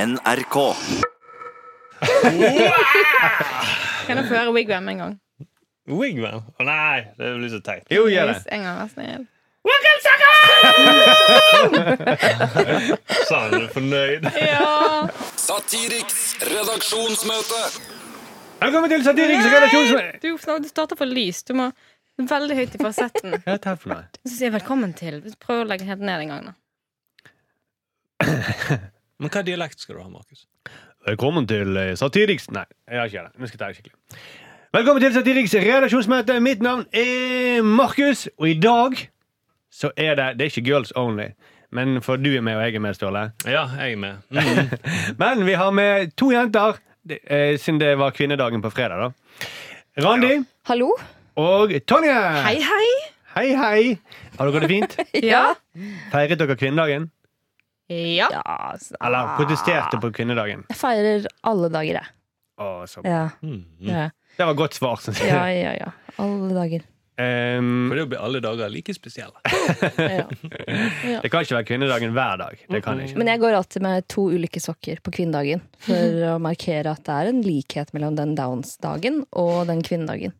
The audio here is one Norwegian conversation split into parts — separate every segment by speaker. Speaker 1: NRK.
Speaker 2: Kan jeg få høre Wigwam en gang?
Speaker 3: Wigman? Å nei, det blir så teit.
Speaker 4: Jo, gjør det.
Speaker 2: Hvis en gang, vær snill.
Speaker 3: Sa han er fornøyd.
Speaker 2: Ja.
Speaker 5: Satiriks redaksjonsmøte.
Speaker 4: Velkommen til Satiriks redaksjonsmøte!
Speaker 2: Du, Fnau, du starter for lys. Du må veldig høyt i fasetten.
Speaker 4: Hva er dette her for noe?
Speaker 2: Så sier jeg velkommen til. Prøv å legge helt ned en gang, da.
Speaker 3: Men hva dialekt skal du ha, Markus?
Speaker 4: Velkommen til eh, Satiriks Nei, jeg har ikke det. Nå skal jeg ta det skikkelig. Velkommen til Satiriks redaksjonsmøte. Mitt navn er Markus, og i dag så er det Det er ikke girls only, men for du er med, og jeg er med, Ståle.
Speaker 3: Ja, jeg er med. Mm.
Speaker 4: Men vi har med to jenter, det- eh, siden det var kvinnedagen på fredag, da. Randi
Speaker 6: Hallo?
Speaker 4: og Tonje.
Speaker 6: Hei, hei.
Speaker 4: hei, hei. Har dere det fint?
Speaker 2: Ja.
Speaker 4: Feiret dere kvinnedagen?
Speaker 2: Ja.
Speaker 6: Ja, så-
Speaker 4: Eller protesterte på kvinnedagen?
Speaker 6: Jeg feirer alle dager, jeg.
Speaker 4: Å, så.
Speaker 6: Ja,
Speaker 3: Mm.
Speaker 6: ja,
Speaker 4: Det var godt svar, syns jeg.
Speaker 6: ja. ja, ja. Alle dager.
Speaker 4: Ehm,
Speaker 3: For det blir alle dager like spesielle.
Speaker 6: Ja.
Speaker 4: det kan ikke være kvinnedagen hver dag. Det kan det ikke.
Speaker 6: Men jeg går alltid med to ulike sokker på kvinnedagen for å markere at det er en likhet mellom den downs-dagen og den kvinnedagen.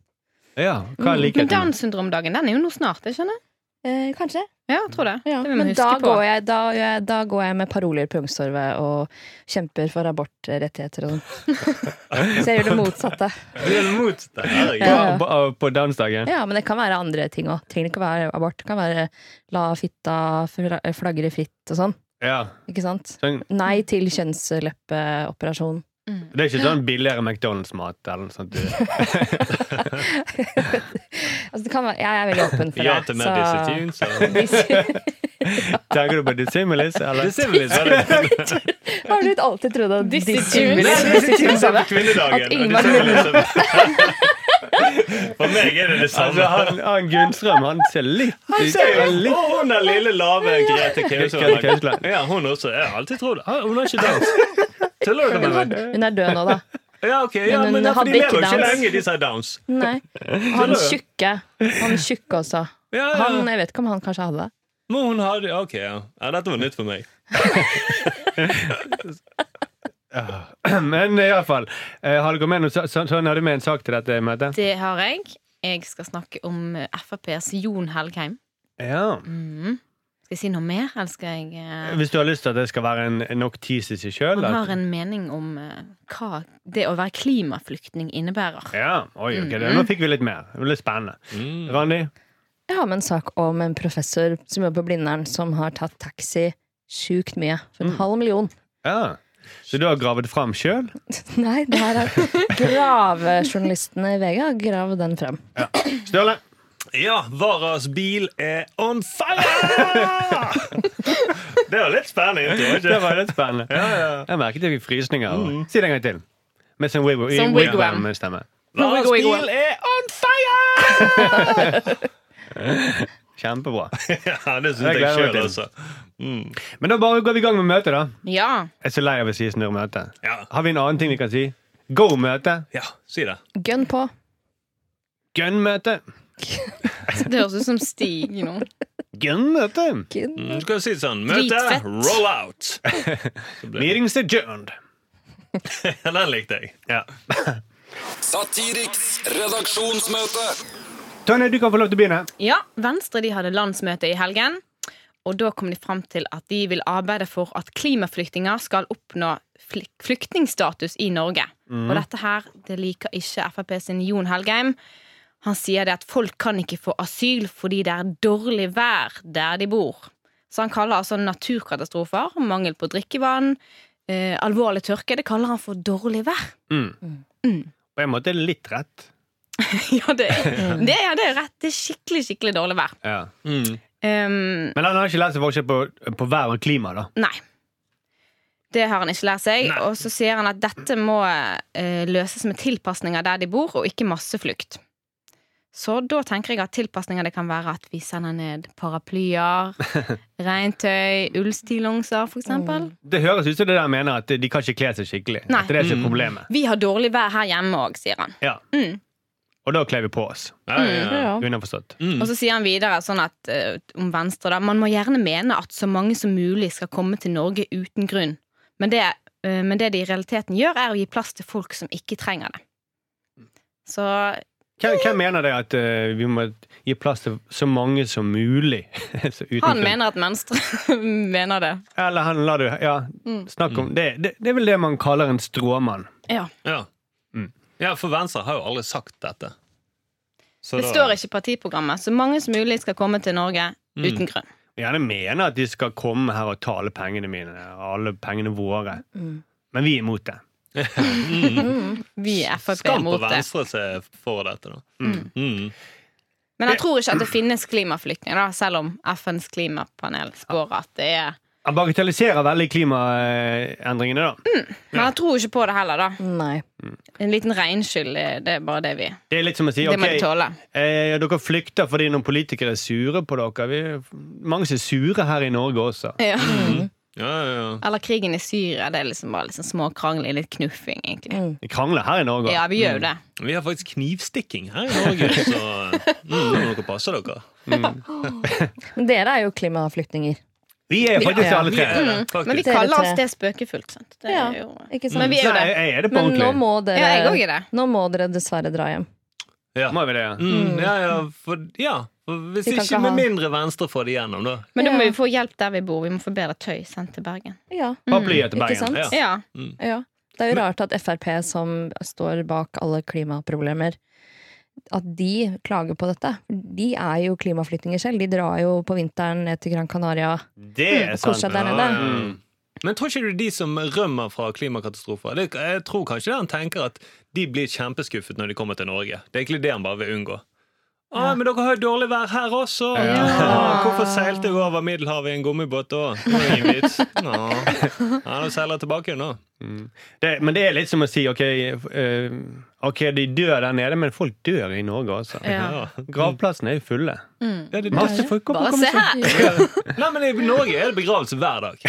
Speaker 4: Ja, hva er
Speaker 2: Men
Speaker 4: likheten?
Speaker 2: Downs syndrom-dagen den er jo nå snart, ikke sant?
Speaker 6: Eh, kanskje.
Speaker 2: Ja, jeg tror det.
Speaker 6: Ja.
Speaker 2: Det vil vi
Speaker 6: Men da
Speaker 2: huske på.
Speaker 6: går, jeg, da, gjør jeg, da går jeg med paroler på Youngstorget og kjemper for abortrettigheter og sånn. Så jeg gjør det motsatte.
Speaker 3: Det er mot det.
Speaker 4: På,
Speaker 3: Herregud.
Speaker 6: Ja.
Speaker 4: på, på dansdagen?
Speaker 6: Ja, men det kan være andre ting òg. Trenger ikke å være abort. Det kan være la fitta fla- flagre fritt og sånn.
Speaker 4: Ja.
Speaker 6: Ikke sant?
Speaker 4: Sånn,
Speaker 6: Nei til kjønnsleppeoperasjon.
Speaker 4: det er ikke sånn billigere McDonald's-mat eller noe sånt? du-
Speaker 6: Altså, det kan være, jeg er veldig åpen for det.
Speaker 3: Ja til mer disse tunes.
Speaker 6: tunes.
Speaker 4: Tenker du på Dissimilis, eller?
Speaker 3: Det ser vel litt sånn ut.
Speaker 6: Har du ikke alltid trodd at
Speaker 2: Disse
Speaker 6: disse
Speaker 2: tunes?
Speaker 6: tunes
Speaker 4: Disse tunes er
Speaker 3: på kvinnedagen.
Speaker 6: At
Speaker 3: og
Speaker 6: Ingvar
Speaker 3: det ser vel litt sånn- For meg er det det
Speaker 4: Altså,
Speaker 3: samme.
Speaker 4: han, han Gunnstrøm, han ser litt
Speaker 3: Og hun der lille, lave Grete
Speaker 4: Grete Kausland.
Speaker 3: Kausland. Ja, hun også. Jeg har alltid trodd Ah, Hun har ikke dans. Tuller dere med meg?
Speaker 6: Hun er død nå, da.
Speaker 3: Ja, ok, ja,
Speaker 6: Men hun
Speaker 3: men ja, for
Speaker 6: hadde
Speaker 3: de lever
Speaker 6: ikke
Speaker 3: jo ikke
Speaker 6: dans.
Speaker 3: lenge, de sier downs.
Speaker 6: Nei. Han tjukke. Han tjukke også.
Speaker 3: Ja, ja.
Speaker 6: Han, jeg vet ikke om han kanskje hadde det.
Speaker 3: Men hun hadde, ok, ja. ja. Dette var nytt for meg.
Speaker 4: Men iallfall. eh, Har dere med noe så- så- sånn, har du med en sak til dette møtet?
Speaker 2: Det har jeg. Jeg skal snakke om eh, FrPs Jon Helgheim.
Speaker 4: Ja.
Speaker 2: Mm. Skal jeg si noe mer, eller skal jeg eh,
Speaker 4: Hvis du har lyst til at det skal være en, nok tis i seg sjøl?
Speaker 2: Han har en mening om eh, hva det å være klimaflyktning innebærer.
Speaker 4: Ja. Oi, ok, det- Nå fikk vi litt mer. Det ble litt spennende. Randi?
Speaker 6: Jeg har med en sak om en professor som jobber på Blindern, som har tatt taxi sjukt mye. For en halv million.
Speaker 4: Ja. Så du har gravd fram sjøl?
Speaker 6: Nei, det her er gravejournalistene i VG har gravd den frem.
Speaker 4: Støle?
Speaker 3: Ja, Varas bil er on fire! det var litt spennende intro,
Speaker 4: Det
Speaker 3: ikke
Speaker 4: var Mm. litt spennende. Jeg merket jeg fikk frysninger. og- Si det en gang til. Med sånn wig-
Speaker 2: Sånn wigwam.
Speaker 4: wigwam-stemme.
Speaker 3: Varas
Speaker 2: Wiggle,
Speaker 3: bil
Speaker 2: wiggle.
Speaker 3: er on fire!
Speaker 4: Kjempebra.
Speaker 3: ja, det
Speaker 4: Jeg
Speaker 3: syns jeg
Speaker 4: gleder meg
Speaker 3: sjøl,
Speaker 4: til.
Speaker 3: altså. Mm.
Speaker 4: Men da bare går vi i gang med møtet, da.
Speaker 2: Ja.
Speaker 4: Jeg er så lei av å si snurr møte.
Speaker 3: Ja.
Speaker 4: Har vi en annen ting vi kan si? Go møte.
Speaker 3: ja, si det.
Speaker 6: Gønn på.
Speaker 4: Gun møte.
Speaker 2: Det høres ut som Stig nå.
Speaker 4: Gun møte.
Speaker 6: Gønn.
Speaker 3: Mm, Du kan si det sånn Møte,
Speaker 2: Dritfett.
Speaker 3: roll out! Så blir det-
Speaker 4: Meetings adjourned.
Speaker 3: Ja, Den likte jeg. Ja.
Speaker 5: Satiriks redaksjonsmøte.
Speaker 4: Tonje, du kan få lov til å begynne.
Speaker 2: Ja, Venstre de hadde landsmøte i helgen. Og da kom de fram til at de vil arbeide for at klimaflyktninger skal oppnå flyk- flyktningstatus i Norge. Og dette her, det liker ikke Frp sin Jon Helgheim. Han sier det at folk kan ikke få asyl fordi det er dårlig vær der de bor. Så han kaller altså naturkatastrofer, mangel på drikkevann, eh, alvorlig tørke, det kaller han for dårlig vær.
Speaker 4: På en måte litt rett.
Speaker 2: ja, det,
Speaker 3: Mm.
Speaker 2: det, ja, det er rett. Det er skikkelig, skikkelig dårlig vær.
Speaker 4: Ja.
Speaker 2: Um,
Speaker 4: Men han har ikke lært seg forskjell på, på vær og klima, da.
Speaker 2: Nei. Det har han ikke lært seg. Og så sier han at dette må eh, løses med tilpasninger der de bor, og ikke masseflukt. Så da tenker jeg at tilpasninger det kan være at vi sender ned paraplyer, regntøy, ullstillongser for eksempel.
Speaker 3: Mm.
Speaker 4: Det høres ut som det der mener at de kan ikke kle seg skikkelig.
Speaker 2: Nei.
Speaker 4: At det er ikke problemet.
Speaker 2: Vi har dårlig vær her hjemme òg, sier han. Mm.
Speaker 4: Ja. Og da kler vi på oss.
Speaker 3: Ja, ja, ja.
Speaker 6: Ja.
Speaker 4: Underforstått.
Speaker 3: Mm.
Speaker 2: Og så sier han videre sånn at eh, om Venstre da Man må gjerne mene at så mange som mulig skal komme til Norge uten grunn. Men det Eh, Men det de i realiteten gjør, er å gi plass til folk som ikke trenger det. Så
Speaker 4: Hvem, hvem mener det at eh, vi må gi plass til så mange som mulig? Så uten-
Speaker 2: han mener at Venstre mener det.
Speaker 4: Eller han lar du Ja,
Speaker 2: Mm.
Speaker 4: snakk om det, det. Det er vel det man kaller en stråmann.
Speaker 2: Ja.
Speaker 3: Ja.
Speaker 4: Mm.
Speaker 3: ja, for Venstre har jo aldri sagt dette. Så
Speaker 2: Det
Speaker 3: da-
Speaker 2: står ikke i partiprogrammet. Så mange som mulig skal komme til Norge
Speaker 3: Mm.
Speaker 2: uten grunn.
Speaker 4: Gjerne mener at de skal komme her og ta alle pengene mine, og alle pengene våre.
Speaker 2: Mm.
Speaker 4: Men vi er imot det.
Speaker 2: Vi i Frp er
Speaker 3: Skam på
Speaker 2: mot det.
Speaker 3: Venstre som er for dette, da. Mm.
Speaker 2: Men jeg tror ikke at det finnes klimaflyktninger, da, selv om FNs klimapanel spår at det er
Speaker 4: Han bagatelliserer veldig klimaendringene, da.
Speaker 2: Men jeg tror ikke på det heller, da.
Speaker 6: Nei.
Speaker 2: En liten regnskyld, eh, det- det er bare det vi
Speaker 4: Det er litt som å si
Speaker 2: Det må de
Speaker 4: ok,
Speaker 2: tåle.
Speaker 4: eh, dere flykter fordi noen politikere er sure på dere. Vi, mange som er sure her i Norge også.
Speaker 2: ja. Mm.
Speaker 3: Ja, ja, ja.
Speaker 2: Eller krigen i Syria. Det er liksom bare liksom små krangler, litt knuffing, egentlig.
Speaker 4: Vi krangler her i Norge.
Speaker 2: Ja, vi gjør jo det.
Speaker 3: Vi har faktisk knivstikking her i Norge, så mm, nå må dere passe dere.
Speaker 6: Men dere er jo klimaflyktninger.
Speaker 4: Vi er faktisk
Speaker 6: Ja,
Speaker 4: alle
Speaker 3: Vi
Speaker 4: tre.
Speaker 3: er det,
Speaker 2: Mm, Men vi
Speaker 3: faktisk.
Speaker 6: Dere
Speaker 2: kaller oss
Speaker 6: tre.
Speaker 2: det spøkefullt, sant. Det
Speaker 6: Ja,
Speaker 2: er jo...
Speaker 6: Ikke sant?
Speaker 2: Men vi er jo
Speaker 4: Nei,
Speaker 2: det.
Speaker 4: jeg er det på
Speaker 6: Men nå
Speaker 4: ordentlig.
Speaker 6: må
Speaker 2: Ja, jeg òg
Speaker 6: dere,
Speaker 2: er det.
Speaker 6: nå må dere dessverre dra hjem.
Speaker 3: Ja.
Speaker 4: Må vi det? ja?
Speaker 3: Mm, ja, ja, for, ja. For hvis
Speaker 6: Vi kan
Speaker 3: ikke
Speaker 6: ikke
Speaker 3: med
Speaker 6: ha-
Speaker 3: mindre Venstre får det igjennom, da.
Speaker 2: Men da må
Speaker 6: Ja.
Speaker 2: vi få hjelp der vi bor. Vi må få bedre tøy sendt til Bergen.
Speaker 6: Ja,
Speaker 4: Paraplyet til
Speaker 6: ikke
Speaker 4: Bergen.
Speaker 6: sant?
Speaker 3: ja.
Speaker 2: Ja.
Speaker 6: Ja. Det er jo rart at Frp, som står bak alle klimaproblemer, at de klager på dette. De er jo klimaflyktninger selv. De drar jo på vinteren ned til Gran Canaria
Speaker 4: Det er
Speaker 6: og
Speaker 4: sant.
Speaker 6: koser seg der nede.
Speaker 3: Mm. Men tror ikke du de som rømmer fra klimakatastrofer det, Jeg tror kanskje han tenker at de blir kjempeskuffet når de kommer til Norge. Det er egentlig det han bare vil unngå. Å, men dere har jo dårlig vær her også!
Speaker 4: Ja.
Speaker 3: Å, hvorfor seilte jeg over Middelhavet i en gummibåt da? Det var ingen vits. Nå. Ja, nå seiler jeg tilbake igjen, nå.
Speaker 4: Det, men det er litt som å si ok, eh, ok, de dør der nede, men folk dør i Norge også.
Speaker 2: Ja.
Speaker 3: Ja.
Speaker 4: Gravplassene er jo fulle.
Speaker 3: Ja, det,
Speaker 4: Masse folk kommer
Speaker 2: Bare se her!
Speaker 3: Nei, men I Norge er det begravelse hver dag.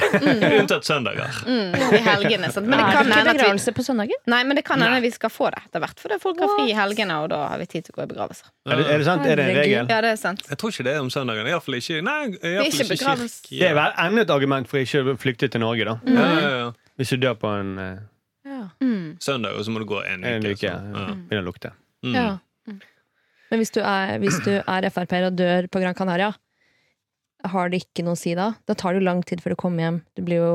Speaker 3: Unntatt søndager.
Speaker 2: Mm, I helgene. Sant? Men det
Speaker 6: Er
Speaker 2: kan
Speaker 6: det ikke
Speaker 2: hende at vi
Speaker 6: begravelse på søndager?
Speaker 2: Nei, men det kan hende vi skal få det etter hvert. Fordi folk har fri i helgene, og da har vi tid til å gå i begravelser.
Speaker 4: Er det, er det sant? Er det en regel?
Speaker 2: Ja, det er sant.
Speaker 3: Jeg tror ikke det er om søndagene. Iallfall ikke Nei, i hvert fall
Speaker 2: Det er ikke begravelse.
Speaker 4: Det er vel enda et argument for ikke å flykte til Norge, da.
Speaker 3: Ja, ja, ja.
Speaker 4: Hvis du dør på en, eh,
Speaker 2: Mm.
Speaker 3: Søndag, og så må du gå en uke.
Speaker 4: en uke,
Speaker 3: sånn. Ja.
Speaker 4: begynner å lukte.
Speaker 3: Mm.
Speaker 6: Ja. Men hvis du er, hvis du er Frp-er og dør på Gran Canaria, har det ikke noe å si da? Da tar det jo lang tid før du kommer hjem. Du blir jo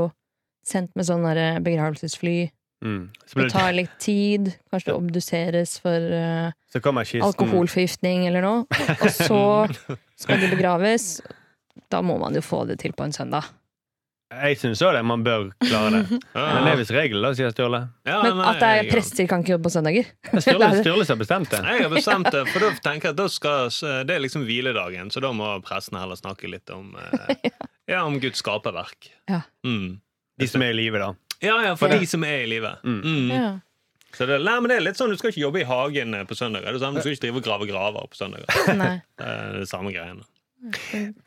Speaker 6: sendt med sånn der begravelsesfly.
Speaker 4: Mm. Så,
Speaker 6: Det
Speaker 4: blir det,
Speaker 6: tar litt tid. Kanskje du obduseres for eh,
Speaker 4: så kommer kisten.
Speaker 6: alkoholforgiftning eller noe. Og så skal de begraves. Da må man jo få det til på en søndag.
Speaker 4: Jeg syns òg det. Man bør klare det. Men det er visst regelen, da, sier Sturle.
Speaker 3: Ja,
Speaker 6: Men
Speaker 3: nei,
Speaker 6: at det er
Speaker 3: jeg-
Speaker 6: prester kan ikke jobbe på søndager.
Speaker 4: Det er Sturle, Sturle som har bestemt det.
Speaker 3: Nei, Jeg har bestemt det, for da tenker jeg at da skal, det er liksom hviledagen, så da må presten heller snakke litt om, eh, ja, om Guds skaperverk.
Speaker 6: Ja.
Speaker 3: Mm.
Speaker 4: De som er i live, da.
Speaker 3: Ja, ja, for
Speaker 6: Ja.
Speaker 3: de som er i livet.
Speaker 4: Mm.
Speaker 3: Mm.
Speaker 6: Ja.
Speaker 3: Så det, nei, men det er litt sånn, Du skal ikke jobbe i hagen eh, på søndager. Det er sånn, Du skal ikke drive og grave graver på søndager.
Speaker 6: Nei.
Speaker 3: Det er det samme greiene.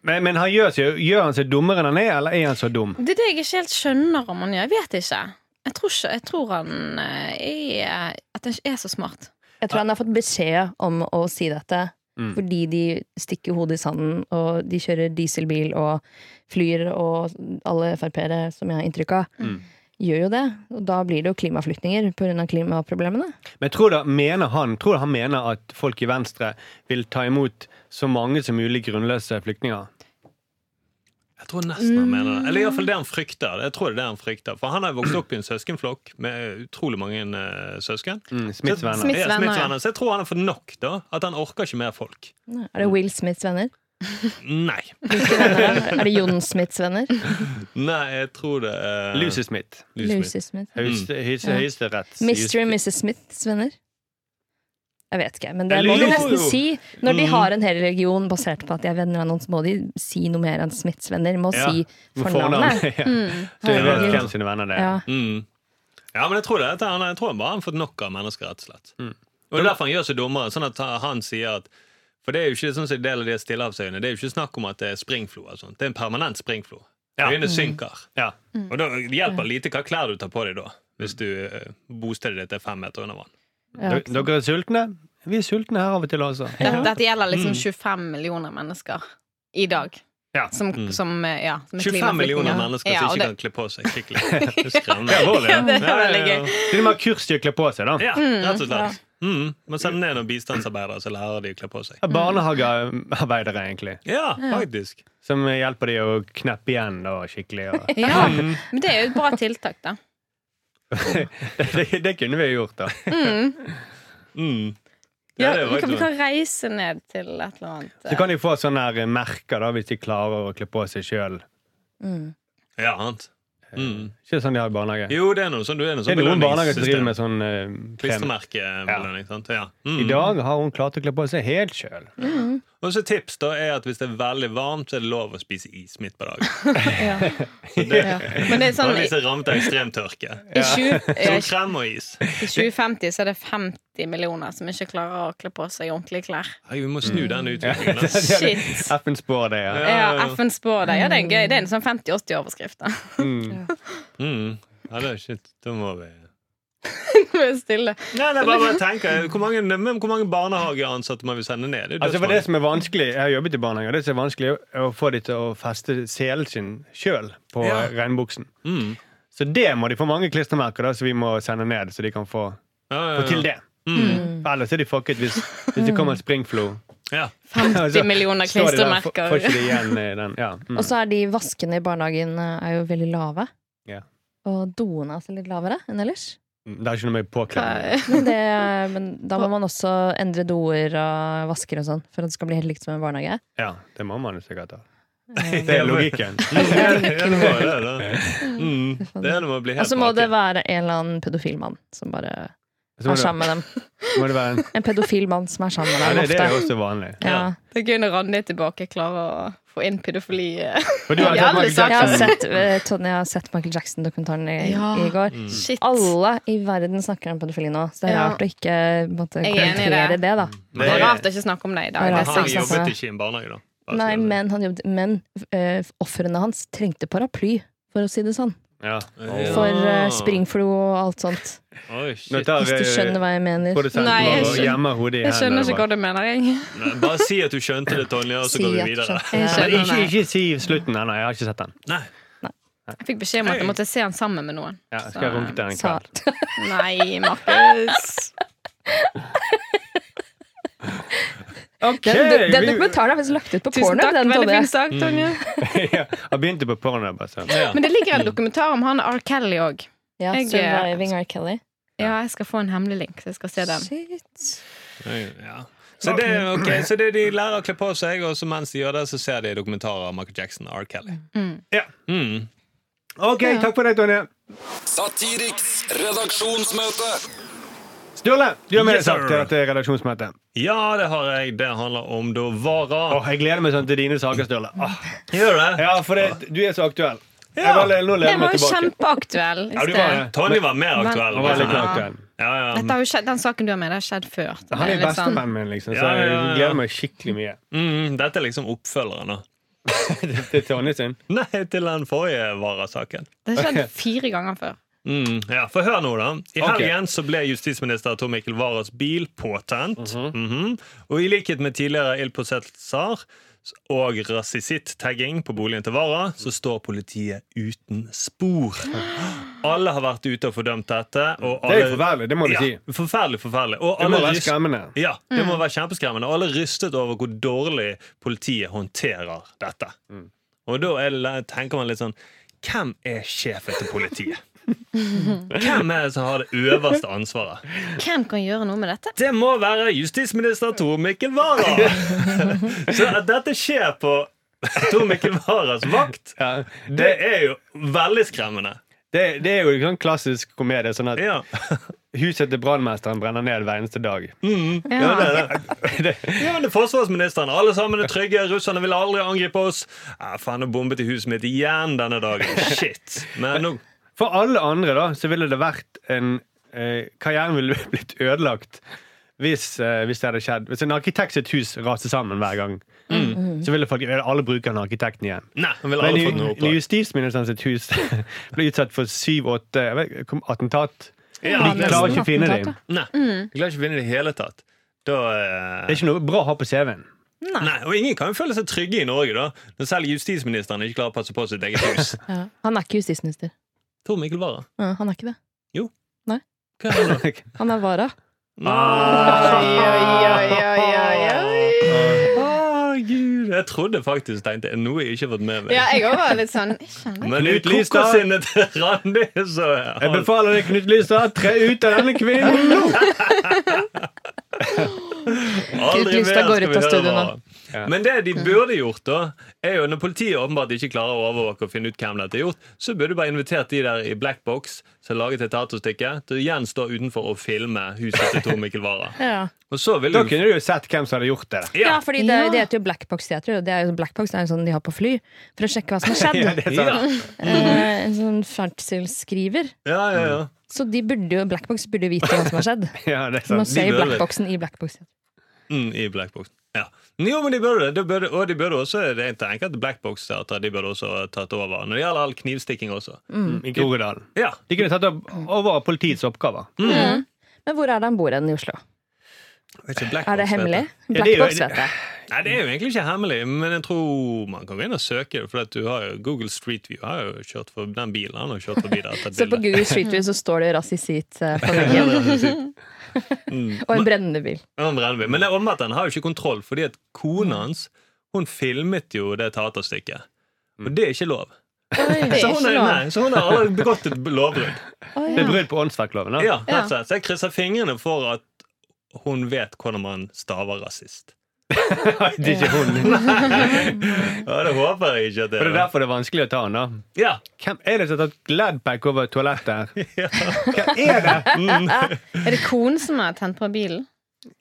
Speaker 4: Men, men han gjør, seg, gjør han seg dummere enn han er, eller er han så dum?
Speaker 2: Det er det jeg ikke helt skjønner om han gjør. Jeg vet ikke. Jeg tror, ikke, jeg tror han eh, er At han ikke er så smart.
Speaker 6: Jeg tror han har fått beskjed om å si dette
Speaker 4: Mm.
Speaker 6: fordi de stikker hodet i sanden, og de kjører dieselbil og flyr, og alle Frp-ere, som jeg har inntrykk av,
Speaker 4: Mm.
Speaker 6: gjør jo det. Og da blir det jo klimaflyktninger pga. klimaproblemene.
Speaker 4: Men tror du, mener han, tror du han mener at folk i Venstre vil ta imot så mange som mulig grunnløse flyktninger?
Speaker 3: Jeg tror nesten han mener det. Eller iallfall det han frykter. Jeg tror det er det han frykter For han har jo vokst opp i en søskenflokk med utrolig mange eh, søsken.
Speaker 4: Mm, Smiths
Speaker 2: Smith-
Speaker 3: Så-
Speaker 4: venner.
Speaker 3: Ja,
Speaker 2: Smiths venner,
Speaker 3: Smiths
Speaker 2: ja.
Speaker 3: venner. Så jeg tror han har fått nok, da. At han orker ikke mer folk.
Speaker 6: Er det Will Smiths venner?
Speaker 3: Nei.
Speaker 6: Hvilke venner er det? Er det Jon Smiths venner?
Speaker 3: Nei, jeg tror det er
Speaker 4: Eh, Lucy Smith.
Speaker 3: Lucy Smith.
Speaker 6: Lucy Smith.
Speaker 4: Høyeste-
Speaker 2: Mm.
Speaker 4: høyeste-
Speaker 6: Ja.
Speaker 4: Høyesteretts...
Speaker 6: Mr. og Mrs. Smiths venner? Jeg vet ikke, men det
Speaker 4: Eller
Speaker 6: må de
Speaker 4: jo,
Speaker 6: nesten
Speaker 4: jo.
Speaker 6: si. Når de
Speaker 3: Mm.
Speaker 6: har en hel religion basert på at de er venner av noen, så må de si noe mer enn Smiths venner. De Må
Speaker 4: Ja,
Speaker 6: si
Speaker 4: med
Speaker 6: fornavnet.
Speaker 4: Ja.
Speaker 2: Mm.
Speaker 4: Så jeg vet
Speaker 3: Herregud.
Speaker 4: hvem sine venner det er.
Speaker 6: Ja.
Speaker 3: Mm. Ja, men jeg tror det. at Han, jeg tror han bare har fått nok av mennesker, rett og slett.
Speaker 4: Mm.
Speaker 3: Og det er derfor han gjør seg dummere. Sånn at han sier at For det er jo ikke sånn som en del av de stillehavsøyene. Det er jo ikke snakk om at det er springflo. og sånt. Det er en permanent springflo.
Speaker 4: Ja. Mm.
Speaker 3: Øyene synker.
Speaker 4: Ja.
Speaker 2: Mm.
Speaker 3: Og da hjelper lite hva klær du tar på deg da, hvis du eh, bostedet ditt er fem meter under vann.
Speaker 6: Ja.
Speaker 4: Dere- Dere er sultne? Vi er sultne her av og til også.
Speaker 2: Dette, dette gjelder liksom 25 millioner mennesker i dag.
Speaker 4: Ja.
Speaker 2: Som, som, eh, ja, som er
Speaker 3: 25 millioner
Speaker 2: klimaflyktninger.
Speaker 3: mennesker
Speaker 2: ja,
Speaker 3: som
Speaker 2: og
Speaker 3: ikke
Speaker 2: det-
Speaker 3: kan kle på seg skikkelig. Det er skremmende.
Speaker 4: Det er alvorlig,
Speaker 2: Ja, det er
Speaker 3: Ja, ja,
Speaker 2: veldig
Speaker 3: ja.
Speaker 2: gøy.
Speaker 4: Til og med har kurs til å kle på seg, da.
Speaker 3: Ja, rett og slett. Mm. Man sender ned noen bistandsarbeidere, så lærer de å kle på seg.
Speaker 4: Ja, Barnehagearbeidere, egentlig.
Speaker 3: Ja, faktisk.
Speaker 4: Som hjelper de å kneppe igjen da, skikkelig. Og...
Speaker 2: Ja,
Speaker 6: Mm.
Speaker 2: men det er jo et bra tiltak, da.
Speaker 4: det, det, det kunne vi gjort, da.
Speaker 3: Mm. Ja,
Speaker 2: Ja,
Speaker 3: det er
Speaker 2: vi, kan, vi
Speaker 3: faktisk-
Speaker 2: kan reise ned til et eller annet.
Speaker 4: Så kan de få sånne her eh, merker da, hvis de klarer å kle på seg sjøl.
Speaker 6: Mm.
Speaker 3: Ja, sant. Mm.
Speaker 4: Ikke sånn de har i barnehage.
Speaker 3: Jo, det er noe sånn, det er noe
Speaker 4: Det
Speaker 3: sånn
Speaker 4: er noen barnehager
Speaker 3: belønningssystem.
Speaker 4: som driver med sånn eh, krem.
Speaker 3: Klistremerkebelønning. sant? Ja. Mm.
Speaker 4: I dag har hun klart å kle på seg helt sjøl.
Speaker 3: Og så tips da er at hvis det er veldig varmt, så er det lov å spise is midt på dagen.
Speaker 2: eh, Ja. Ja. Men det er
Speaker 3: Bare
Speaker 2: sånn i,
Speaker 3: hvis det er rammet av ekstrem tørke.
Speaker 2: i, 20, eh,
Speaker 3: Som krem og is.
Speaker 2: i 2050 så er det 50 millioner som ikke klarer å kle på seg ordentlige klær.
Speaker 3: Nei, vi må snu den utviklingen. da.
Speaker 2: Shit.
Speaker 4: FN spår Mm. det, ja.
Speaker 2: Ja, FN spår det. Ja, det er en gøy. Det er en sånn 50-80-overskrift. da
Speaker 3: Mm. Ja, det er shit. Da må vi
Speaker 2: Nå er det stille.
Speaker 3: Nei, nei, bare, bare tenker. Hvor mange, men hvor mange barnehageansatte må vi sende ned? Det er
Speaker 4: Altså for det
Speaker 3: dødsmange.
Speaker 4: som er vanskelig, Jeg har jobbet i barnehager. Det som er vanskelig, er å få de til å feste selen sin sjøl på
Speaker 3: Ja.
Speaker 4: regnbuksen.
Speaker 3: mm.
Speaker 4: Så det må de få mange klistremerker da, som vi må sende ned, så de kan få,
Speaker 3: ja, ja,
Speaker 4: få
Speaker 3: ja.
Speaker 4: til det.
Speaker 3: Mm.
Speaker 4: For Ellers er de fucket hvis, hvis det kommer en springflo.
Speaker 3: Ja.
Speaker 2: 50 millioner
Speaker 4: Står de der, får- får
Speaker 2: klistremerker.
Speaker 4: ikke de igjen eh, den. Ja. Mm.
Speaker 6: Og så er de vaskene i barnehagen eh, er jo veldig lave.
Speaker 4: Ja.
Speaker 6: Og doene er altså litt lavere enn ellers.
Speaker 4: Mm, Det er ikke noe med påkledning.
Speaker 2: Hva-
Speaker 6: Men, det, men da må man også endre doer og vasker og sånn for at det skal bli helt likt som en barnehage.
Speaker 4: Ja, det må man jo sikkert ha.
Speaker 6: Eh,
Speaker 4: Det er logikken.
Speaker 3: Mm. Ja, det må jo det, da. Mm. Det er det må bli
Speaker 6: Og
Speaker 3: helt
Speaker 6: så må det
Speaker 3: bak.
Speaker 6: være en eller annen pedofil mann som bare
Speaker 4: Så må
Speaker 6: er sammen
Speaker 4: det,
Speaker 6: med dem.
Speaker 4: må det være en
Speaker 6: En pedofil mann som er sammen
Speaker 4: ja,
Speaker 6: med
Speaker 4: det,
Speaker 6: dem
Speaker 4: det er jo
Speaker 6: ofte.
Speaker 4: også vanlig.
Speaker 6: Ja.
Speaker 2: Det er gøy når Randi er tilbake, klarer å få inn pedofili. eh,
Speaker 4: For du har
Speaker 2: Ja,
Speaker 4: sett
Speaker 2: det er
Speaker 4: Michael
Speaker 2: sant.
Speaker 6: Jeg har
Speaker 4: Jackson.
Speaker 6: sett, eh, Tonje, jeg har sett Michael Jackson-dokumentaren i,
Speaker 2: Ja.
Speaker 6: i går.
Speaker 4: Mm.
Speaker 2: Shit.
Speaker 6: Alle i verden snakker om pedofili nå, så det er
Speaker 2: Ja.
Speaker 6: rart å ikke på en måte,
Speaker 2: Jeg er enig i
Speaker 6: kommentere det.
Speaker 2: det.
Speaker 6: da.
Speaker 4: Mm.
Speaker 2: Det er rart å ikke snakke om det i dag.
Speaker 6: Ja,
Speaker 2: Det
Speaker 3: Men
Speaker 2: er
Speaker 3: Han
Speaker 2: så-
Speaker 6: sant,
Speaker 3: jobbet
Speaker 6: sant.
Speaker 3: ikke i en barnehage, da. Bare
Speaker 6: altså. Nei,
Speaker 3: si det.
Speaker 6: men, han jobbet, men eh, ofrene hans trengte paraply, for å si det sånn.
Speaker 4: Ja.
Speaker 3: Ja.
Speaker 6: For eh, springflo og alt sånt.
Speaker 3: Oi,
Speaker 4: Nå
Speaker 3: shit.
Speaker 4: tar eh,
Speaker 6: Hvis du skjønner hva jeg mener.
Speaker 4: produsenten
Speaker 2: Nei, jeg
Speaker 4: vår og
Speaker 2: skjønner-
Speaker 4: gjemmer hodet i
Speaker 2: Jeg skjønner ikke hva
Speaker 4: hendene.
Speaker 2: du mener, jeg.
Speaker 3: Nei, Bare si at du skjønte det, Tonje, og så
Speaker 6: Si
Speaker 3: går vi
Speaker 6: at du
Speaker 3: videre.
Speaker 6: skjønte
Speaker 2: Jeg
Speaker 6: det.
Speaker 4: Men
Speaker 2: skjønner
Speaker 4: ikke,
Speaker 2: det.
Speaker 4: ikke si slutten ennå. Jeg har ikke sett den.
Speaker 3: Nei.
Speaker 2: Jeg fikk beskjed om at jeg
Speaker 3: Hei.
Speaker 2: måtte se han sammen med noen.
Speaker 4: Ja, skal jeg runke til en
Speaker 6: Sa-
Speaker 4: kveld?
Speaker 2: Nei, Markus.
Speaker 4: Ok,
Speaker 6: Den, den, den
Speaker 4: vi-
Speaker 6: dokumentaren er faktisk lagt ut på
Speaker 2: Tusen
Speaker 6: porno.
Speaker 2: takk.
Speaker 6: Den,
Speaker 2: Veldig
Speaker 6: Tonje.
Speaker 2: fin sak, Tonje.
Speaker 4: ja, Jeg begynte på porno. Bare sånn.
Speaker 3: Ja.
Speaker 2: Men det ligger en dokumentar om han R. Kelly òg.
Speaker 6: Ja,
Speaker 2: Jeg-
Speaker 6: Surviving R. Kelly.
Speaker 2: Ja, jeg skal få en hemmelig link, så jeg skal se den.
Speaker 6: Shit.
Speaker 3: Ja. Så, det, er- ok, så det er de lærer å kle på seg, og så mens de gjør det, så ser de dokumentarer av Michael Jackson og R. Kelly.
Speaker 4: Ja.
Speaker 3: Mm.
Speaker 4: Ok, takk for deg, Tonje.
Speaker 5: Satiriks redaksjonsmøte.
Speaker 4: Sturle, du har med deg
Speaker 3: Yes, sir.
Speaker 4: sak til dette redaksjonsmøtet.
Speaker 3: Ja, det har jeg. Det handler om da
Speaker 4: Åh,
Speaker 3: varer.
Speaker 4: jeg gleder meg sånn til dine saker, Sturle. Åh,
Speaker 3: Gjør du det?
Speaker 4: ja, for det, du er så aktuell. Jeg
Speaker 3: Ja.
Speaker 4: bare, nå lener jeg
Speaker 2: Den var jo
Speaker 4: meg tilbake.
Speaker 2: kjempeaktuell. i
Speaker 4: du
Speaker 2: sted.
Speaker 4: var det.
Speaker 3: Tonje var mer aktuell.
Speaker 4: Han var litt
Speaker 2: Ja.
Speaker 4: aktuell.
Speaker 3: Ja, ja.
Speaker 2: Dette har jo skjedd, den saken du har med, det har skjedd før. Det
Speaker 4: Han er
Speaker 2: litt sånn-
Speaker 4: bestevennen min, liksom, så
Speaker 3: Ja, ja, ja,
Speaker 4: jeg
Speaker 3: ja.
Speaker 4: gleder meg skikkelig mye.
Speaker 3: Mm, dette er liksom oppfølgeren da.
Speaker 4: Til Tonje sin.
Speaker 3: Nei, til den forrige varasaken.
Speaker 2: Det har skjedd fire ganger før.
Speaker 3: Mm, ja, For hør nå, da. I
Speaker 4: Ok.
Speaker 3: helgen så ble justisminister Tor Mikkel Waras bil påtent. Mhm. Og i likhet med tidligere ildpåsettelser og rasisitt-tagging på boligen til Wara, så står politiet uten spor. Alle har vært ute og fordømt dette. Og
Speaker 4: Det er jo
Speaker 3: alle-
Speaker 4: forferdelig, det må du si.
Speaker 3: Ja, forferdelig, forferdelig. Og
Speaker 4: Det må
Speaker 3: alle
Speaker 4: være
Speaker 3: ryst-
Speaker 4: skremmende.
Speaker 3: Ja, det må være kjempeskremmende. Og alle er rystet over hvor dårlig politiet håndterer dette. Og da er det, tenker man litt sånn Hvem er sjefen til politiet? Hvem er det som har det øverste ansvaret?
Speaker 2: Hvem kan gjøre noe med dette?
Speaker 3: Det må være justisminister Tor Mikkel Wara! Så at dette skjer på Tor Mikkel Waras vakt,
Speaker 4: Ja,
Speaker 3: det er jo veldig skremmende.
Speaker 4: det, det er jo sånn klassisk komedie. Sånn at
Speaker 3: Ja.
Speaker 4: huset til brannmesteren brenner ned hver eneste dag.
Speaker 3: Ja,
Speaker 2: Ja.
Speaker 3: det er det. Ja, men det er forsvarsministeren. Alle sammen er trygge. Russerne vil aldri angripe oss. Ja, faen, nå bombet de huset mitt igjen denne dagen. Shit. Men nå
Speaker 4: For alle andre da, så ville det vært en eh, Karrieren ville blitt ødelagt hvis, eh, hvis det hadde skjedd. Hvis en arkitekt sitt hus raser sammen hver gang,
Speaker 2: Mm.
Speaker 4: så ville folk, ville alle bruke den arkitekten igjen.
Speaker 3: Nei, han ville
Speaker 4: Men
Speaker 3: aldri
Speaker 4: ju-
Speaker 3: fått noe oppdrag.
Speaker 4: justisministeren sitt hus ble utsatt for syv-åtte jeg vet ikke, kom- attentat.
Speaker 3: Ja,
Speaker 4: De klarer ikke å finne dem.
Speaker 6: attentat,
Speaker 3: Nei, jeg klarer ikke å vinne i det hele tatt. Da
Speaker 4: Det
Speaker 3: eh,
Speaker 4: er ikke noe bra å ha på CV-en.
Speaker 2: Nei.
Speaker 3: Nei, og Ingen kan jo føle seg trygge i Norge, da. Når selv justisministeren ikke klarer å passe på sitt eget hus.
Speaker 6: Ja. Han er ikke justisminister.
Speaker 3: Tor Mikkel Wara.
Speaker 6: Ja, han er ikke det.
Speaker 3: Hva er det da?
Speaker 6: Han er vara.
Speaker 4: Ah.
Speaker 3: Å, Ah, Gud, jeg trodde faktisk tenkte jeg, Noe jeg ikke har fått med meg.
Speaker 2: Ja, jeg òg var litt sånn jeg skjønner.
Speaker 3: Men i
Speaker 4: Knut Lystad.
Speaker 3: kokosinnet til Randi, så er
Speaker 4: Jeg
Speaker 3: han
Speaker 4: befaler deg, Knut Lystad, tre ut av denne kvinnen!
Speaker 3: aldri
Speaker 6: Knut
Speaker 3: mer
Speaker 6: Lystad går
Speaker 3: skal
Speaker 6: ut
Speaker 3: vi
Speaker 6: av
Speaker 3: høre
Speaker 6: studio nå.
Speaker 3: hva. Men det de burde gjort, da, er jo når politiet åpenbart ikke klarer å overvåke og finne ut hvem dette er gjort, så burde du bare invitert de der i black box som har laget et teaterstykke, til å igjen stå utenfor og filme huset til Tor Mikkel Wara.
Speaker 6: Ja.
Speaker 3: Og så ville
Speaker 4: Da
Speaker 3: du
Speaker 4: kunne du jo sett hvem som hadde gjort det.
Speaker 3: Ja,
Speaker 6: Ja, fordi det,
Speaker 2: Ja.
Speaker 6: det heter jo Black Box Theater. Og det er jo, Black Box er jo sånn de har på fly for å sjekke hva som har
Speaker 4: Ja,
Speaker 6: skjedd.
Speaker 4: det er
Speaker 3: ja,
Speaker 4: sant.
Speaker 6: eh, en sånn ferdselsskriver.
Speaker 3: ja, ja, ja.
Speaker 6: Så de burde jo, Black Box burde jo vite hva som har skjedd.
Speaker 4: Ja, det er sånn
Speaker 6: Du må
Speaker 4: sant.
Speaker 6: se i
Speaker 3: burde det.
Speaker 6: Black Boxen i Black Box Theater.
Speaker 3: Mm, I black box. Ja. Jo, men de burde det. De burde, og de burde også jeg tenker at black box de burde også ha tatt over når det gjelder all knivstikking også.
Speaker 4: I
Speaker 3: Mm.
Speaker 4: Groruddalen.
Speaker 3: Ja.
Speaker 4: De kunne tatt opp over politiets oppgaver.
Speaker 6: Men hvor er det han bor hen i Oslo?
Speaker 3: Vet ikke, Black
Speaker 6: Er det
Speaker 3: Box, vet
Speaker 6: hemmelig?
Speaker 3: jeg.
Speaker 4: Ja,
Speaker 6: Black
Speaker 4: det er jo-
Speaker 6: Box vet jeg.
Speaker 3: Nei, Det er jo egentlig ikke hemmelig, men jeg tror man kan gå inn og søke det. For at du har jo Google Street View har jo kjørt for den bilen han har kjørt forbi der. og tatt
Speaker 6: Så på
Speaker 3: bilder.
Speaker 6: Google Street View så står det rasisitt eh, på veggen. Og en brennende bil.
Speaker 3: Ja, han brenner bil. Men det er åpenbart han har jo ikke kontroll, fordi at kona hans hun filmet jo det teaterstykket.
Speaker 4: Mm.
Speaker 3: Og det er ikke lov.
Speaker 2: Det
Speaker 3: Så
Speaker 2: er
Speaker 3: hun,
Speaker 2: ikke
Speaker 3: er,
Speaker 2: lov.
Speaker 3: nei, så hun har allerede begått et lovbrudd.
Speaker 4: Det er brudd på åndsverkloven. da.
Speaker 3: Ja,
Speaker 2: Ja.
Speaker 3: rett og slett. Så jeg krysser fingrene for at hun vet hvordan man staver rasist.
Speaker 4: Det er ikke hun.
Speaker 3: Ja, Det håper jeg ikke at det
Speaker 4: Og det er
Speaker 3: er.
Speaker 4: derfor det er vanskelig å ta han da.
Speaker 3: Ja.
Speaker 4: Hvem er det som har tatt Gladpack over toalettet her? Hvem er det?
Speaker 2: Er det konen som har tent på bilen?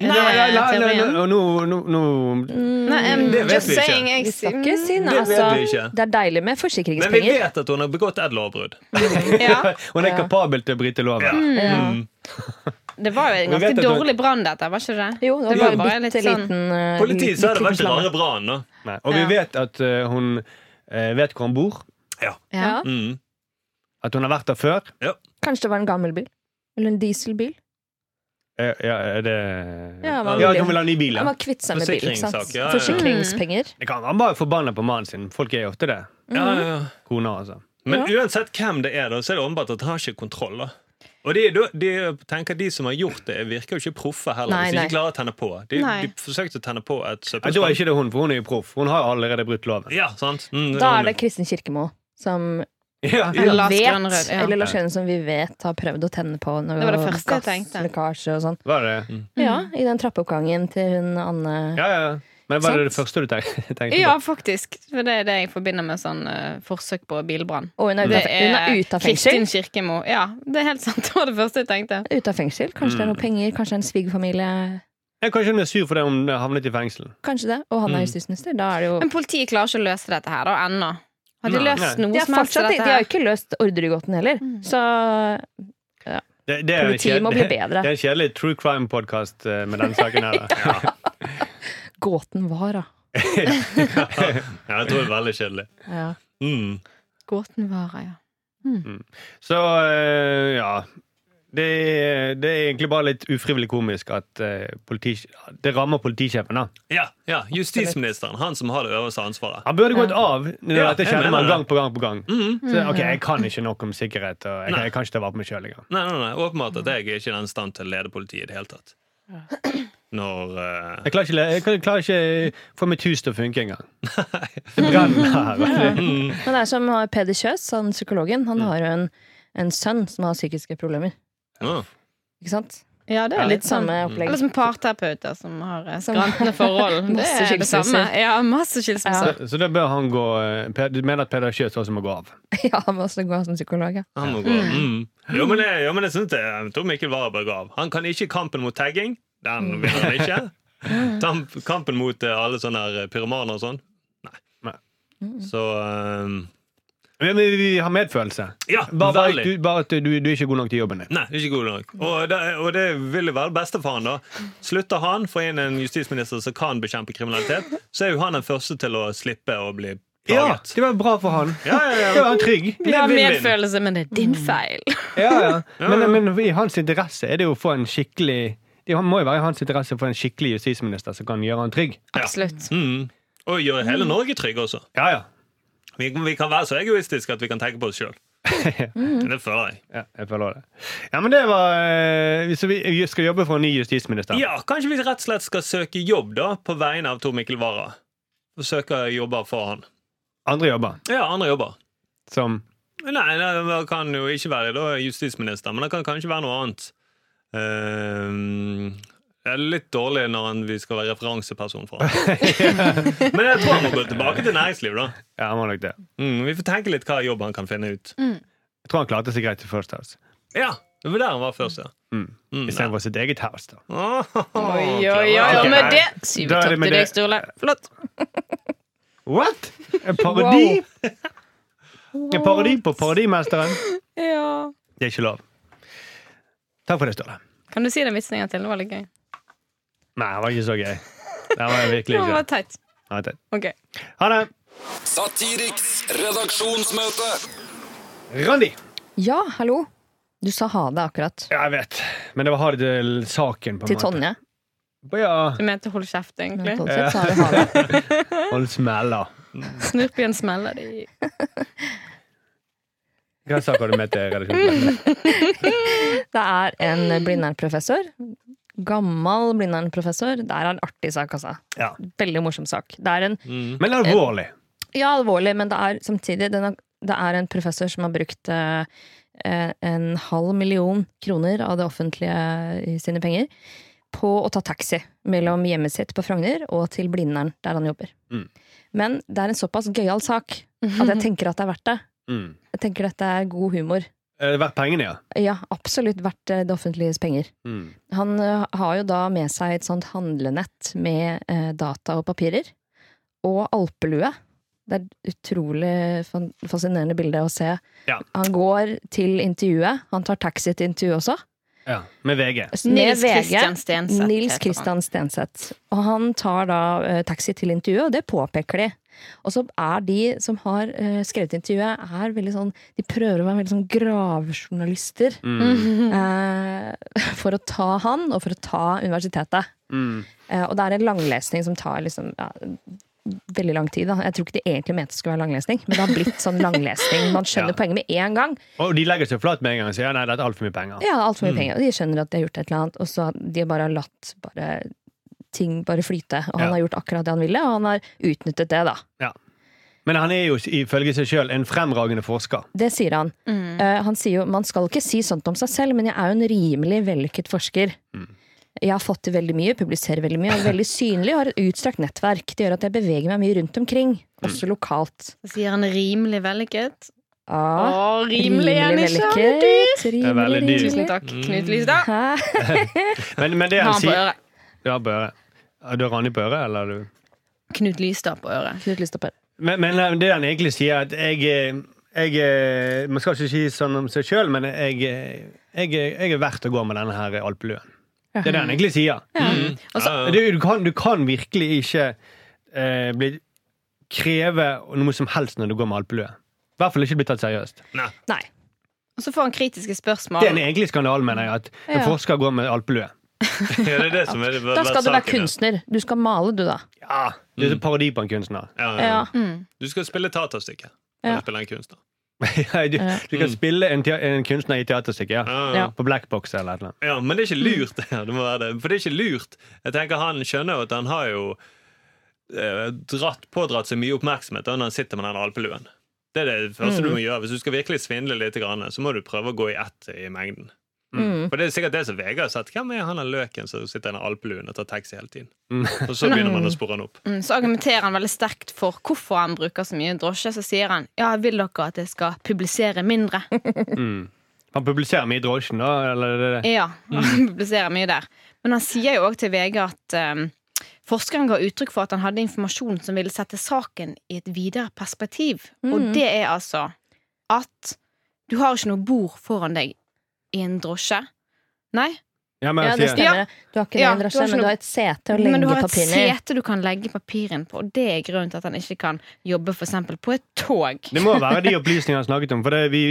Speaker 2: Er
Speaker 4: Nei,
Speaker 2: det
Speaker 4: nei, nei, nei,
Speaker 2: teorien?
Speaker 4: nei, nå, nå, nå.
Speaker 2: Nei, I'm
Speaker 3: Mm, Det vet
Speaker 2: just
Speaker 3: vi ikke.
Speaker 2: saying, jeg-
Speaker 6: Vi skal ikke
Speaker 2: Mm.
Speaker 6: si nei,
Speaker 3: Det vet
Speaker 6: altså.
Speaker 3: vi ikke.
Speaker 6: Det er deilig med
Speaker 3: Men vi
Speaker 6: forsikringspenger.
Speaker 3: vet at hun har begått et lovbrudd.
Speaker 2: Ja.
Speaker 4: Hun er
Speaker 6: Ja.
Speaker 4: kapabel til å bryte loven.
Speaker 6: Ja.
Speaker 3: Mm.
Speaker 2: Det var jo en
Speaker 4: Vi
Speaker 2: ganske
Speaker 4: vet at du-
Speaker 2: dårlig brann, dette. Var ikke det?
Speaker 6: Jo, det
Speaker 2: Det
Speaker 6: var
Speaker 2: var
Speaker 6: en
Speaker 2: bare litt
Speaker 6: bitte
Speaker 2: sånn-
Speaker 6: liten eh,
Speaker 3: Politiet sa
Speaker 6: liten
Speaker 3: det var ikke
Speaker 6: flamme.
Speaker 3: bare brannen, da.
Speaker 4: Nei. Og vi
Speaker 6: Ja.
Speaker 4: vet at eh, hun eh, vet hvor hun bor.
Speaker 6: Ja.
Speaker 3: Mm.
Speaker 4: At hun har vært der før.
Speaker 6: Kanskje det var en gammel bil. Eller en dieselbil.
Speaker 4: Eh, Ja, er det
Speaker 6: Ja, hva
Speaker 4: Ja,
Speaker 6: vil
Speaker 4: at
Speaker 6: det?
Speaker 4: hun vil ha ny bil.
Speaker 6: Han
Speaker 4: Ja.
Speaker 6: var kvitt seg med bilen. ikke sant?
Speaker 3: Forsikringssak, ja, ja, ja.
Speaker 6: Forsikringspenger.
Speaker 4: Det kan han bare forbanna på mannen sin. Folk er jo ofte det.
Speaker 3: Ja, ja,
Speaker 6: Mm.
Speaker 3: ja.
Speaker 4: Kona, altså.
Speaker 3: Men uansett hvem det er, da, så er det åpenbart at han har ikke kontroll. da og de, de, de tenker at de som har gjort det, virker jo ikke proffe heller.
Speaker 6: Nei,
Speaker 3: hvis de
Speaker 6: nei.
Speaker 3: ikke klarer å tenne på De,
Speaker 2: Nei.
Speaker 3: de forsøkte å tenne på et
Speaker 4: Ja, da er
Speaker 3: søppelspann.
Speaker 4: ikke det hun, for hun er jo proff. Hun har allerede brutt loven.
Speaker 3: Ja, sant? Mm,
Speaker 6: Da er
Speaker 3: hun-
Speaker 6: det Kristin Kirkemo som
Speaker 4: Ja.
Speaker 2: Eller Lars
Speaker 6: vet,
Speaker 2: Grønnerød, ja.
Speaker 6: eller Lars Grønnerød som vi vet har prøvd å tenne på noe
Speaker 2: Det var det første jeg tenkte. Mm.
Speaker 6: gasslekkasje og sånn.
Speaker 4: Var det?
Speaker 3: Mm.
Speaker 6: Ja, I den trappeoppgangen til hun Anne
Speaker 4: Ja, ja. Men var det det
Speaker 6: Sant.
Speaker 4: første du tenk- tenkte på?
Speaker 2: Ja, faktisk. For det er det jeg forbinder med sånn eh, forsøk på bilbrann.
Speaker 6: Og hun er ute
Speaker 2: Det
Speaker 6: av, hun er
Speaker 2: er
Speaker 6: ute av
Speaker 2: Kristin
Speaker 6: fengsel.
Speaker 2: Kirkemo. Ja, det er helt sant. Det var det første jeg tenkte.
Speaker 6: Ute av fengsel. Kanskje
Speaker 3: Mm.
Speaker 6: det er noe penger, kanskje det er en svigerfamilie.
Speaker 4: Ja, Kanskje hun er sur fordi hun havnet i fengsel.
Speaker 6: Kanskje det. Og han er justisminister. Da er det jo
Speaker 2: Men politiet klarer ikke å løse dette her da, ennå. Har de
Speaker 3: Nei.
Speaker 2: løst
Speaker 4: Nei.
Speaker 2: noe
Speaker 6: de har,
Speaker 2: som helst
Speaker 6: fortsatt,
Speaker 2: av
Speaker 6: de
Speaker 2: dette?
Speaker 6: har jo
Speaker 2: her?
Speaker 6: ikke løst ordregåten heller. Så
Speaker 4: Det, det er en
Speaker 6: Politiet må
Speaker 4: kjed-
Speaker 6: bli bedre.
Speaker 4: Det er en kjedelig true crime-podkast med denne saken her. da.
Speaker 6: gåten var, da.
Speaker 3: Ja, jeg tror det er veldig kjedelig.
Speaker 6: Ja.
Speaker 3: Mm.
Speaker 2: Gåten varer, ja.
Speaker 4: Så eh, ja. Det, er- det er egentlig bare litt ufrivillig komisk at eh, politi, det rammer politisjefen. da.
Speaker 3: Ja, ja, Justisministeren, han som har det øverste ansvaret.
Speaker 4: Han burde gått av. når
Speaker 3: Ja,
Speaker 4: Dette
Speaker 3: jeg
Speaker 4: kjenner
Speaker 3: mener
Speaker 4: man
Speaker 3: det.
Speaker 4: gang på gang på gang.
Speaker 3: Mhm.
Speaker 4: Så, ok, Jeg kan ikke nok om sikkerhet, og jeg,
Speaker 3: Nei.
Speaker 4: jeg kan ikke ta vare på meg sjøl engang.
Speaker 3: Nei, nei, nei, Åpenbart at jeg er ikke i den stand til å lede politiet i det hele tatt. Når eh,
Speaker 4: Jeg klarer ikke, jeg kan- klarer ikke eh, få mitt hus til å funke engang. Det brenner her.
Speaker 6: Men det er som Peder Kjøs, han psykologen,
Speaker 2: Mm.
Speaker 6: han har jo en, en sønn som har psykiske problemer.
Speaker 3: ja.
Speaker 6: Ikke sant?
Speaker 2: Ja, det er
Speaker 6: Litt
Speaker 2: litt sånn.
Speaker 6: samme opplegg.
Speaker 2: Eller som parterapeuter som har eh,
Speaker 6: Som-
Speaker 2: skrantende forhold. Det
Speaker 6: Masse
Speaker 2: er det samme.
Speaker 6: skilsmisser.
Speaker 2: Ja, masse skilsmisser.
Speaker 4: Så da bør han gå eh, Per- Du mener at Peder Kjøs også må gå av?
Speaker 6: Ja, han må også gå som psykolog, ja.
Speaker 3: Han må gå. Mm. Jo, men jeg, jo, men jeg synes det jeg tror Mikkel Wara bør gå av. Han kan ikke kampen mot tagging. Den vinner han ikke.
Speaker 4: Mm.
Speaker 3: Tam- Kampen mot eh, alle sånne her pyromaner og sånn. Nei.
Speaker 4: Nei.
Speaker 3: Så ehm,
Speaker 4: Men vi, vi har medfølelse.
Speaker 3: Ja,
Speaker 4: Bare, bare, at
Speaker 3: veldig.
Speaker 4: du, bare at du, du er ikke god nok til jobben din.
Speaker 3: Nei, det er ikke god nok. Og det, og det vil jo være det beste for han da. Slutter han, får inn en justisminister som kan bekjempe kriminalitet, så er jo han den første til å slippe å bli
Speaker 4: Ja,
Speaker 3: plaget.
Speaker 4: det var bra for han.
Speaker 3: Ja, ja, ja.
Speaker 4: Da var han trygg.
Speaker 2: Vi har
Speaker 3: Vinn-vinn.
Speaker 6: Mm.
Speaker 2: medfølelse, men det er din feil.
Speaker 4: Ja, ja. Men, men i hans interesse er det jo å få en skikkelig Det må jo være i hans interesse for en skikkelig justisminister som kan gjøre han trygg.
Speaker 2: Absolutt.
Speaker 3: Mm. Og gjøre hele Norge trygg også.
Speaker 4: Ja, ja.
Speaker 3: Vi, vi kan være så egoistiske at vi kan tenke på oss sjøl. Det føler jeg.
Speaker 4: ja jeg føler det. Ja, men det var eh, Så vi vi skal jobbe for en ny justisminister.
Speaker 3: Ja, Kanskje vi rett og slett skal søke jobb da på vegne av Tor Mikkel Wara. Og søke jobber for han.
Speaker 4: Andre jobber.
Speaker 3: Ja, andre jobber.
Speaker 4: Som
Speaker 3: Nei, det kan jo ikke være da justisminister, men det kan kanskje være noe annet. Ehm, det er litt dårlig når han- vi skal være referanseperson for han. Men jeg tror han må gå tilbake til næringslivet, da.
Speaker 4: Ja, han var nok det.
Speaker 3: Mm, vi får tenke litt hva jobb han kan finne ut.
Speaker 4: Jeg tror han klarte seg greit til First House.
Speaker 3: Ja, det var der han var først, ja.
Speaker 4: Mm.
Speaker 3: Mm, ja.
Speaker 4: Istedenfor sitt eget house, da.
Speaker 2: Oi, oi, oi. Og
Speaker 4: Ok.
Speaker 2: med det sier vi
Speaker 4: Da er det
Speaker 2: takk
Speaker 4: med
Speaker 2: til deg,
Speaker 4: det.
Speaker 2: Sturle. Flott.
Speaker 4: What?! En parodi? En parodi på Parodimesteren?
Speaker 2: Ja.
Speaker 4: Det er ikke lov. Takk for det, Ståle.
Speaker 2: Kan du si den vitsen en gang til? Det var litt gøy.
Speaker 4: Nei, det var ikke så gøy. Det var virkelig
Speaker 2: Det
Speaker 4: ikke.
Speaker 2: var teit.
Speaker 4: Ha det.
Speaker 2: Ok.
Speaker 4: Ha det.
Speaker 5: Satiriks redaksjonsmøte.
Speaker 4: Randi.
Speaker 6: Ja, hallo. Du sa ha det akkurat.
Speaker 4: Ja, jeg vet. Men det var ha det til saken, på en
Speaker 6: Til
Speaker 4: måte.
Speaker 6: Tonje.
Speaker 4: Ja.
Speaker 2: Du mente hold kjeft, egentlig.
Speaker 6: Totalt sett så har vi ha det.
Speaker 4: Hold smella.
Speaker 2: Snurp igjen smeller de.
Speaker 4: Hva sak har du med til redaksjonen?
Speaker 6: Det er en Blindern-professor. Gammel Blindern-professor. Det er en artig sak, altså.
Speaker 4: Ja.
Speaker 6: Veldig morsom sak. Det er en
Speaker 4: Men alvorlig.
Speaker 6: Ja, alvorlig, men det er samtidig den er, Det er en professor som har brukt eh, eh, en halv million kroner av det offentlige eh, i sine penger på å ta taxi mellom hjemmet sitt på Frogner og til Blindern, der han jobber.
Speaker 4: Mm.
Speaker 6: Men det er en såpass gøyal sak at jeg tenker at det er verdt det.
Speaker 4: Mm.
Speaker 6: Jeg tenker dette er god humor.
Speaker 4: Er Eh, det verdt pengene, ja?
Speaker 6: Ja, absolutt verdt eh, det offentliges penger.
Speaker 4: Mm.
Speaker 6: Han eh, har jo da med seg et sånt handlenett med eh, data og papirer. Og alpelue. Det er et utrolig fan- fascinerende bilde å se.
Speaker 4: Ja.
Speaker 6: Han går til intervjuet. Han tar taxi til intervjuet også.
Speaker 4: ja. Med VG.
Speaker 6: Med
Speaker 2: Altså, Nils
Speaker 6: VG.
Speaker 2: Christian Stenseth.
Speaker 6: Nils
Speaker 2: heter han.
Speaker 6: Christian Stenseth. Og han tar da eh, taxi til intervjuet, og det påpeker de. Og så er de som har eh, skrevet intervjuet, er veldig sånn De prøver å være veldig sånn gravjournalister.
Speaker 4: Mm.
Speaker 6: eh, for å ta han, og for å ta universitetet.
Speaker 4: Mm.
Speaker 6: Eh, og det er en langlesning som tar liksom ja, veldig lang tid. Da. Jeg tror ikke de egentlig mente det skulle være langlesning, men det har blitt sånn langlesning. Man skjønner
Speaker 4: Ja.
Speaker 6: poenget med en gang.
Speaker 4: Og de legger seg flat med en gang og sier ja, nei, dette er altfor mye penger.
Speaker 6: Ja, altfor mye penger. Og de skjønner at de har gjort et eller annet, og så har de bare latt bare, ting bare flyte. Og
Speaker 4: Ja.
Speaker 6: han har gjort akkurat det han ville, og han har utnyttet det, da.
Speaker 4: Men han er jo ifølge seg sjøl en fremragende forsker.
Speaker 6: Det sier han.
Speaker 2: Mm.
Speaker 4: Mm.
Speaker 6: Eh, han sier jo man skal ikke si sånt om seg selv, men jeg er jo en rimelig vellykket forsker.
Speaker 4: Mm.
Speaker 6: Jeg har fått til veldig mye, publiserer veldig mye, er veldig synlig og har et utstrakt nettverk. Det gjør at jeg beveger meg mye rundt omkring,
Speaker 4: Mm.
Speaker 6: også lokalt.
Speaker 2: Så sier han rimelig vellykket. Å,
Speaker 6: Ja,
Speaker 2: rimelig er han ikke. han er dyr.
Speaker 4: Det er veldig
Speaker 6: Rimelig,
Speaker 4: dyrt.
Speaker 2: Tusen
Speaker 6: rimelig.
Speaker 2: takk, Knut Lystad.
Speaker 6: Hæ?
Speaker 4: Men, men det
Speaker 2: Har
Speaker 4: han
Speaker 2: han på
Speaker 4: sier
Speaker 2: øret.
Speaker 4: Ja, på øret. Ja, Du har Randi på øret, eller er du
Speaker 2: Knut Lystad på øret.
Speaker 6: Knut Lystopper.
Speaker 4: Men, men det han egentlig sier, er at jeg, eh, jeg eh, Man skal ikke si sånn om seg sjøl, men jeg, eh, jeg, jeg er verdt å gå med denne her alpeluen. Det er det han egentlig sier. Mm.
Speaker 3: Ja,
Speaker 4: Du, du, kan, du kan virkelig ikke eh, bli, kreve noe som helst når du går med alpelue. I hvert fall ikke bli tatt seriøst.
Speaker 3: Nei.
Speaker 6: Nei.
Speaker 2: Og så får han kritiske spørsmål.
Speaker 4: Det er en egentlig skandale, mener jeg, at en
Speaker 6: Ja.
Speaker 4: forsker går med alpelue.
Speaker 3: Ja, det er det som er det,
Speaker 6: Da skal du være
Speaker 3: saken, ja.
Speaker 6: kunstner. Du skal male, du, da.
Speaker 4: Ja, det er en parodi på en kunstner.
Speaker 3: Ja, ja, ja.
Speaker 6: Ja.
Speaker 2: Mm.
Speaker 3: Du skal spille taterstykke.
Speaker 6: Ja.
Speaker 3: Ja. Spille en kunstner.
Speaker 4: Ja, du, du kan
Speaker 3: Mm.
Speaker 4: spille en, tea- en kunstner i teaterstykket. Ja.
Speaker 3: Ja, ja.
Speaker 6: Ja. Mm.
Speaker 4: På Blackbox eller et eller annet.
Speaker 3: Ja, men det er ikke lurt. det her, det må være det. For det er ikke lurt. Jeg tenker Han skjønner jo at han har jo eh, dratt, pådratt seg mye oppmerksomhet da når han sitter med den alpeluen. Det er det første
Speaker 6: Mm.
Speaker 3: du må gjøre. Hvis du skal virkelig svindle litt, grann, så må du prøve å gå i ett i mengden.
Speaker 6: Mm.
Speaker 3: For det er sikkert det som Vegard har sett. Hvem er han av løken som sitter i den alpeluen og tar taxi hele tiden?
Speaker 4: Mm.
Speaker 3: Og så begynner man å spore han opp.
Speaker 2: Mm, så argumenterer han veldig sterkt for hvorfor han bruker så mye drosje. Så sier han ja, jeg vil dere at jeg skal publisere mindre.
Speaker 4: Han publiserer mye i drosjen, da. Eller det, det.
Speaker 2: Ja, han publiserer mye der. Men han sier jo òg til VG at um, forskeren ga uttrykk for at han hadde informasjon som ville sette saken i et videre perspektiv.
Speaker 6: Mm.
Speaker 2: Og det er altså at du har ikke noe bord foran deg i en drosje. Nei,
Speaker 4: Ja, men,
Speaker 6: Ja, det
Speaker 4: sier jeg.
Speaker 6: stemmer. Du har ikke
Speaker 2: Ja,
Speaker 6: det i en
Speaker 2: du har
Speaker 6: drosje,
Speaker 2: ikke
Speaker 6: men du
Speaker 2: noe-
Speaker 6: har et sete å
Speaker 2: Men du
Speaker 6: legge
Speaker 2: har et
Speaker 6: papirene i.
Speaker 2: sete du kan legge papiren på, og det er grunnen til at han ikke kan jobbe for eksempel på et tog.
Speaker 4: Det må være de opplysningene han snakket om. For det, vi,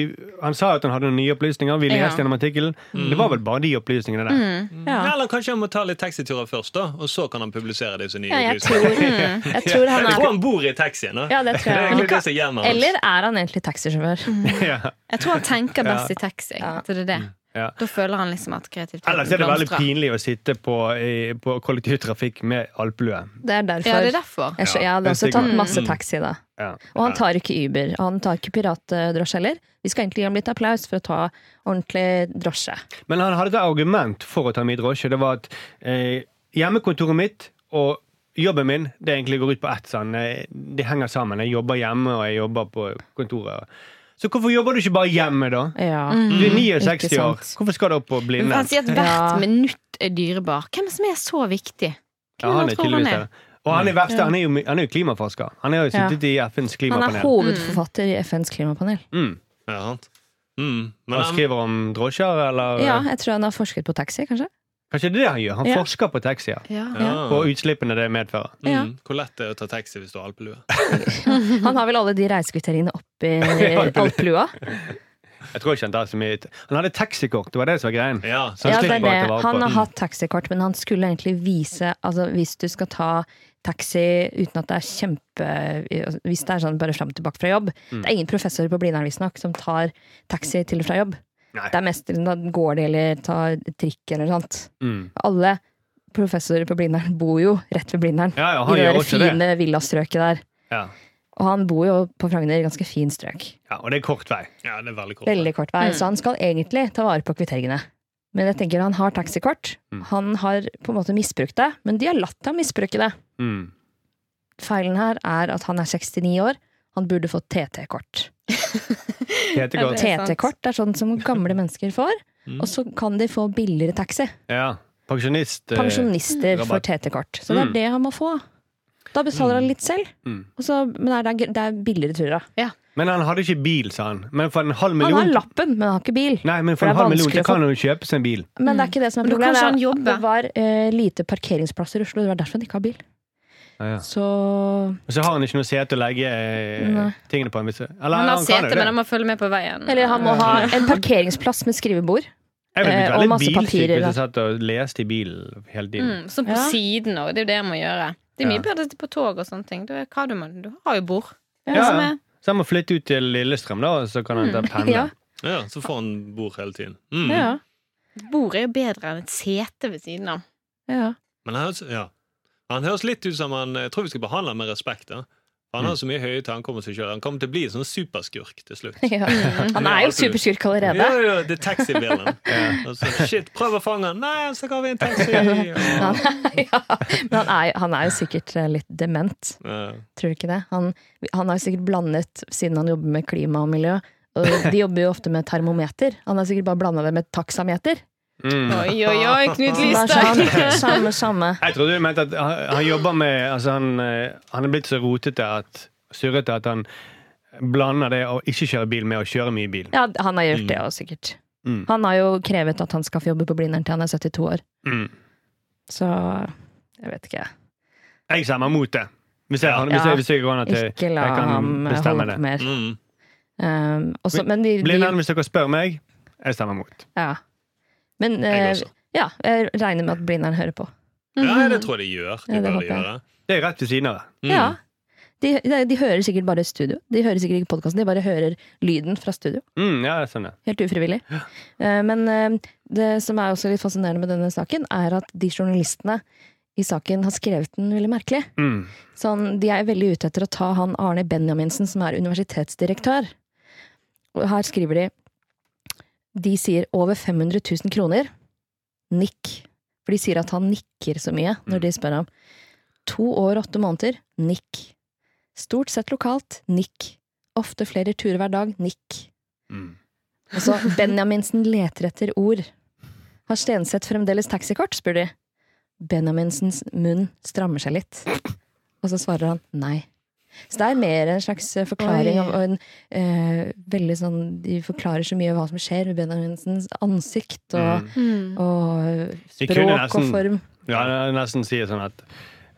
Speaker 4: han sa at han hadde noen nye opplysninger. Vi
Speaker 2: Ja.
Speaker 4: leste gjennom artikkelen. Det var vel bare de opplysningene
Speaker 6: Mm.
Speaker 4: der.
Speaker 6: Ja.
Speaker 3: Eller kanskje han må ta litt taxiturer først, da, og så kan han publisere disse nye
Speaker 6: Ja, jeg tror,
Speaker 3: opplysningene.
Speaker 2: Mm,
Speaker 6: jeg tror han
Speaker 3: Jeg tror
Speaker 6: er
Speaker 3: han bor i taxien. Da.
Speaker 6: Ja, det tror jeg.
Speaker 3: er egentlig det som er hjemmet hans.
Speaker 6: Eller er han egentlig taxisjåfør?
Speaker 4: Ja.
Speaker 2: Jeg tror han tenker best i taxi. at Det er det.
Speaker 4: Ja.
Speaker 2: Da føler han liksom at kreativiteten
Speaker 4: Ellers er det veldig
Speaker 2: blomstrer.
Speaker 4: pinlig å sitte på, i, på kollektivtrafikk med alpelue.
Speaker 6: Det er derfor.
Speaker 2: Ja, det er derfor.
Speaker 6: Jeg, skjø- jeg
Speaker 4: det
Speaker 6: hadde
Speaker 4: er
Speaker 6: også
Speaker 4: stigma.
Speaker 6: tatt masse taxi da.
Speaker 4: Ja.
Speaker 6: Og han tar ikke Uber. Og han tar ikke piratdrosje heller. Vi skal egentlig gi ham litt applaus for å ta ordentlig drosje.
Speaker 4: Men han hadde et argument for å ta min drosje. Det var at eh, hjemmekontoret mitt og jobben min det egentlig går ut på ett. Sånn, eh, det henger sammen. Jeg jobber hjemme, og jeg jobber på kontoret. Så hvorfor jobber du ikke bare hjemme, da?
Speaker 6: Ja.
Speaker 2: Mm.
Speaker 4: Du er 69
Speaker 6: Mm, ikke
Speaker 4: år.
Speaker 6: sant.
Speaker 4: Hvorfor skal du opp på
Speaker 2: Men
Speaker 4: blinde?
Speaker 2: Han sier at
Speaker 6: Ja.
Speaker 2: hvert minutt er dyrebar. Hvem som er så viktig? Hvem
Speaker 4: Ja, han er
Speaker 2: tror han
Speaker 4: tydeligvis
Speaker 2: er?
Speaker 4: det. Og han er, verste, han er, jo, han er jo klimaforsker. Han har jo sittet i FNs
Speaker 6: Han er
Speaker 4: klimapanel.
Speaker 6: hovedforfatter i FNs klimapanel.
Speaker 4: Mm.
Speaker 3: Ja, sant? Mm. Men
Speaker 4: Han
Speaker 3: han,
Speaker 4: skriver om drosjer, eller
Speaker 6: Ja, jeg tror han har forsket på taxi, kanskje.
Speaker 4: Kanskje det er det han gjør? Han
Speaker 6: Ja.
Speaker 4: forsker på taxier.
Speaker 2: Ja.
Speaker 3: ja.
Speaker 4: Og utslippene det medfører.
Speaker 6: Ja.
Speaker 3: Mm. Hvor lett det er å ta taxi hvis du har alpelue.
Speaker 6: Han har vel alle de reisekvitteringene oppi alplua.
Speaker 4: Jeg tror ikke Han tar så mye ut. Han hadde taxikort, det var det som var greien.
Speaker 3: Ja,
Speaker 4: Så han
Speaker 6: Ja, det
Speaker 4: slipper
Speaker 6: er
Speaker 4: å ta
Speaker 6: det.
Speaker 4: vare på
Speaker 6: Han har
Speaker 4: den.
Speaker 6: hatt taxikort, men han skulle egentlig vise Altså, hvis du skal ta taxi uten at det er kjempe Hvis det er sånn bare fram og tilbake fra jobb
Speaker 4: Mm.
Speaker 6: Det er ingen professorer på Blindern, visstnok, som tar taxi til og fra jobb.
Speaker 4: Nei.
Speaker 6: Det er mest da går de eller tar trikk eller noe sånt.
Speaker 4: Mm.
Speaker 6: Alle professorer på Blindern bor jo rett ved Blindern.
Speaker 4: Ja, ja,
Speaker 6: I
Speaker 4: han
Speaker 6: det
Speaker 4: gjør
Speaker 6: der
Speaker 4: også det.
Speaker 6: fine villastrøket der.
Speaker 4: Ja.
Speaker 6: Og han bor jo på Frogner, ganske fint strøk.
Speaker 4: ja, Og det er kort vei.
Speaker 3: ja, det er veldig kort.
Speaker 6: Veldig kort
Speaker 2: Mm.
Speaker 6: vei, så han skal egentlig ta vare på kvitteringene. Men jeg tenker han har taxikort.
Speaker 4: Mm.
Speaker 6: Han har på en måte misbrukt det, men de har latt ham misbruke det.
Speaker 4: Mm.
Speaker 6: Feilen her er at han er 69 år. Han burde fått TT-kort.
Speaker 4: Heter godt.
Speaker 2: Det er sant.
Speaker 6: TT-kort er sånn som gamle mennesker får,
Speaker 4: Mm.
Speaker 6: og så kan de få billigere taxi.
Speaker 4: Ja. Pensjonist. eh,
Speaker 6: Pensjonister
Speaker 4: rabatt.
Speaker 6: får TT-kort. Så det er det han må få. Da betaler han litt selv,
Speaker 4: Mm.
Speaker 6: og så, men det er, det er billigere turer. da.
Speaker 4: Men han hadde ikke bil, sa han. Men for en halv
Speaker 6: Han
Speaker 4: million
Speaker 6: har lappen, men han har ikke bil.
Speaker 4: Nei, men for
Speaker 6: For det
Speaker 4: en
Speaker 6: er
Speaker 4: halv million så
Speaker 6: vanskelig å få-
Speaker 4: kan han jo kjøpe seg en bil.
Speaker 6: Mm. Men sånn det er ikke det som
Speaker 2: Men
Speaker 6: er
Speaker 2: da kan
Speaker 6: problemet.
Speaker 2: ikke han
Speaker 6: det er at
Speaker 2: jobbe.
Speaker 6: Det var eh, lite parkeringsplasser i Oslo, det var derfor han ikke har bil.
Speaker 4: Ah, Ja, ja.
Speaker 6: Så
Speaker 4: Og så har han ikke noe sete å legge eh,
Speaker 6: Nei.
Speaker 4: tingene på. en viss- Eller,
Speaker 2: Han har
Speaker 4: kan jo
Speaker 2: sete,
Speaker 4: det.
Speaker 2: men han må følge med på veien.
Speaker 6: Mm. Eller han må ha en parkeringsplass med skrivebord.
Speaker 4: Jeg ville
Speaker 6: Eh,
Speaker 4: blitt
Speaker 6: og
Speaker 4: veldig
Speaker 6: masse
Speaker 4: bilsyk
Speaker 6: papirer,
Speaker 4: hvis jeg
Speaker 6: da.
Speaker 4: satt og leste i bilen hele
Speaker 2: Mm,
Speaker 4: tiden.
Speaker 2: sånn på
Speaker 6: Ja.
Speaker 2: siden òg. Det er jo det han må gjøre. Det er mye
Speaker 4: Ja.
Speaker 2: bedre på tog og sånne ting. Du, er- hva du, må, du har jo bord. Det er
Speaker 4: Ja.
Speaker 2: som er-
Speaker 4: Så han må flytte ut til Lillestrøm, da, og så kan han ta pendle.
Speaker 6: Mm.
Speaker 3: Ja,
Speaker 6: Ja.
Speaker 3: så får han bord hele tiden. Mm.
Speaker 6: Ja,
Speaker 2: Bord er jo bedre enn et sete ved siden av.
Speaker 6: ja.
Speaker 3: Men han høres, ja. han høres litt ut som han Jeg tror vi skal behandle han med respekt. da Han har så mye høye tanker om seg sjøl. Han kommer til å bli en sånn superskurk til slutt.
Speaker 6: ja. Han er jo superskurk
Speaker 3: Ja,
Speaker 6: allerede.
Speaker 3: ja, det er taxibilen. Og så, Shit, prøv å fange han! Nei, så går vi i en taxi! Og,
Speaker 6: ja. Men han er, han er jo sikkert eh, litt dement,
Speaker 3: ja.
Speaker 6: tror du ikke det? Han, han har jo sikkert blandet, siden han jobber med klima og miljø og De jobber jo ofte med termometer. Han har sikkert bare blanda det med taksameter.
Speaker 4: Mm.
Speaker 2: Oi, oi, oi, Knut
Speaker 6: Det er sånn,
Speaker 2: Lystad!
Speaker 6: samme, samme.
Speaker 4: Jeg trodde du mente at han, han jobber med altså han, eh, han er blitt så rotete at surrete at han blander det å ikke kjøre bil med å kjøre mye bil.
Speaker 6: Ja, han har gjort det òg, sikkert.
Speaker 4: Mm.
Speaker 6: Han har jo krevet at han skal få jobbe på Blindern til han er 72 år.
Speaker 4: Mm.
Speaker 6: Så jeg vet ikke.
Speaker 4: Jeg stemmer mot det. Hvis jeg, han, hvis
Speaker 6: Ja.
Speaker 4: jeg, hvis jeg går an at jeg,
Speaker 6: Ikke la
Speaker 4: jeg
Speaker 6: ham
Speaker 4: kan bestemme
Speaker 6: holde
Speaker 4: det.
Speaker 6: på mer.
Speaker 3: Mm.
Speaker 6: Um, også, men de,
Speaker 4: Blindern,
Speaker 6: de
Speaker 4: hvis dere spør meg, jeg stemmer mot.
Speaker 6: ja. Men
Speaker 3: Jeg
Speaker 6: eh,
Speaker 3: også.
Speaker 6: ja, jeg regner med at Blindern hører på.
Speaker 3: Ja, det tror jeg de gjør. De
Speaker 6: Mhm. Ja, det
Speaker 3: bør
Speaker 6: håper jeg.
Speaker 3: gjøre.
Speaker 4: Det er rett ved siden av det.
Speaker 3: Mm.
Speaker 6: Ja. De, de, de hører sikkert bare studio. De hører sikkert ikke podkasten, de bare hører lyden fra studio.
Speaker 4: Mm, ja, jeg skjønner.
Speaker 6: Helt ufrivillig. Eh, Men eh, det som er også litt fascinerende med denne saken, er at de journalistene i saken har skrevet den veldig merkelig.
Speaker 4: Mm.
Speaker 6: Sånn, de er veldig ute etter å ta han Arne Benjaminsen, som er universitetsdirektør. Og her skriver de De sier over 500 000 kroner. Nikk. For de sier at han nikker så mye når de spør ham. To år og åtte måneder. Nikk. Stort sett lokalt. Nikk. Ofte flere turer hver dag. Nikk.
Speaker 4: Mm.
Speaker 6: Altså, Benjaminsen leter etter ord. Har Stenseth fremdeles taxikort, spør de. Benjaminsens munn strammer seg litt. Og så svarer han nei. Så det er mer en slags eh, forklaring
Speaker 2: Oi.
Speaker 6: av og en eh, veldig sånn De forklarer så mye av hva som skjer med Benjaminsens ansikt og,
Speaker 2: Mm.
Speaker 6: og
Speaker 4: Mm.
Speaker 6: eh,
Speaker 4: De kunne
Speaker 6: språk
Speaker 4: nesten-
Speaker 6: og form.
Speaker 4: Ja, han nesten sier sånn at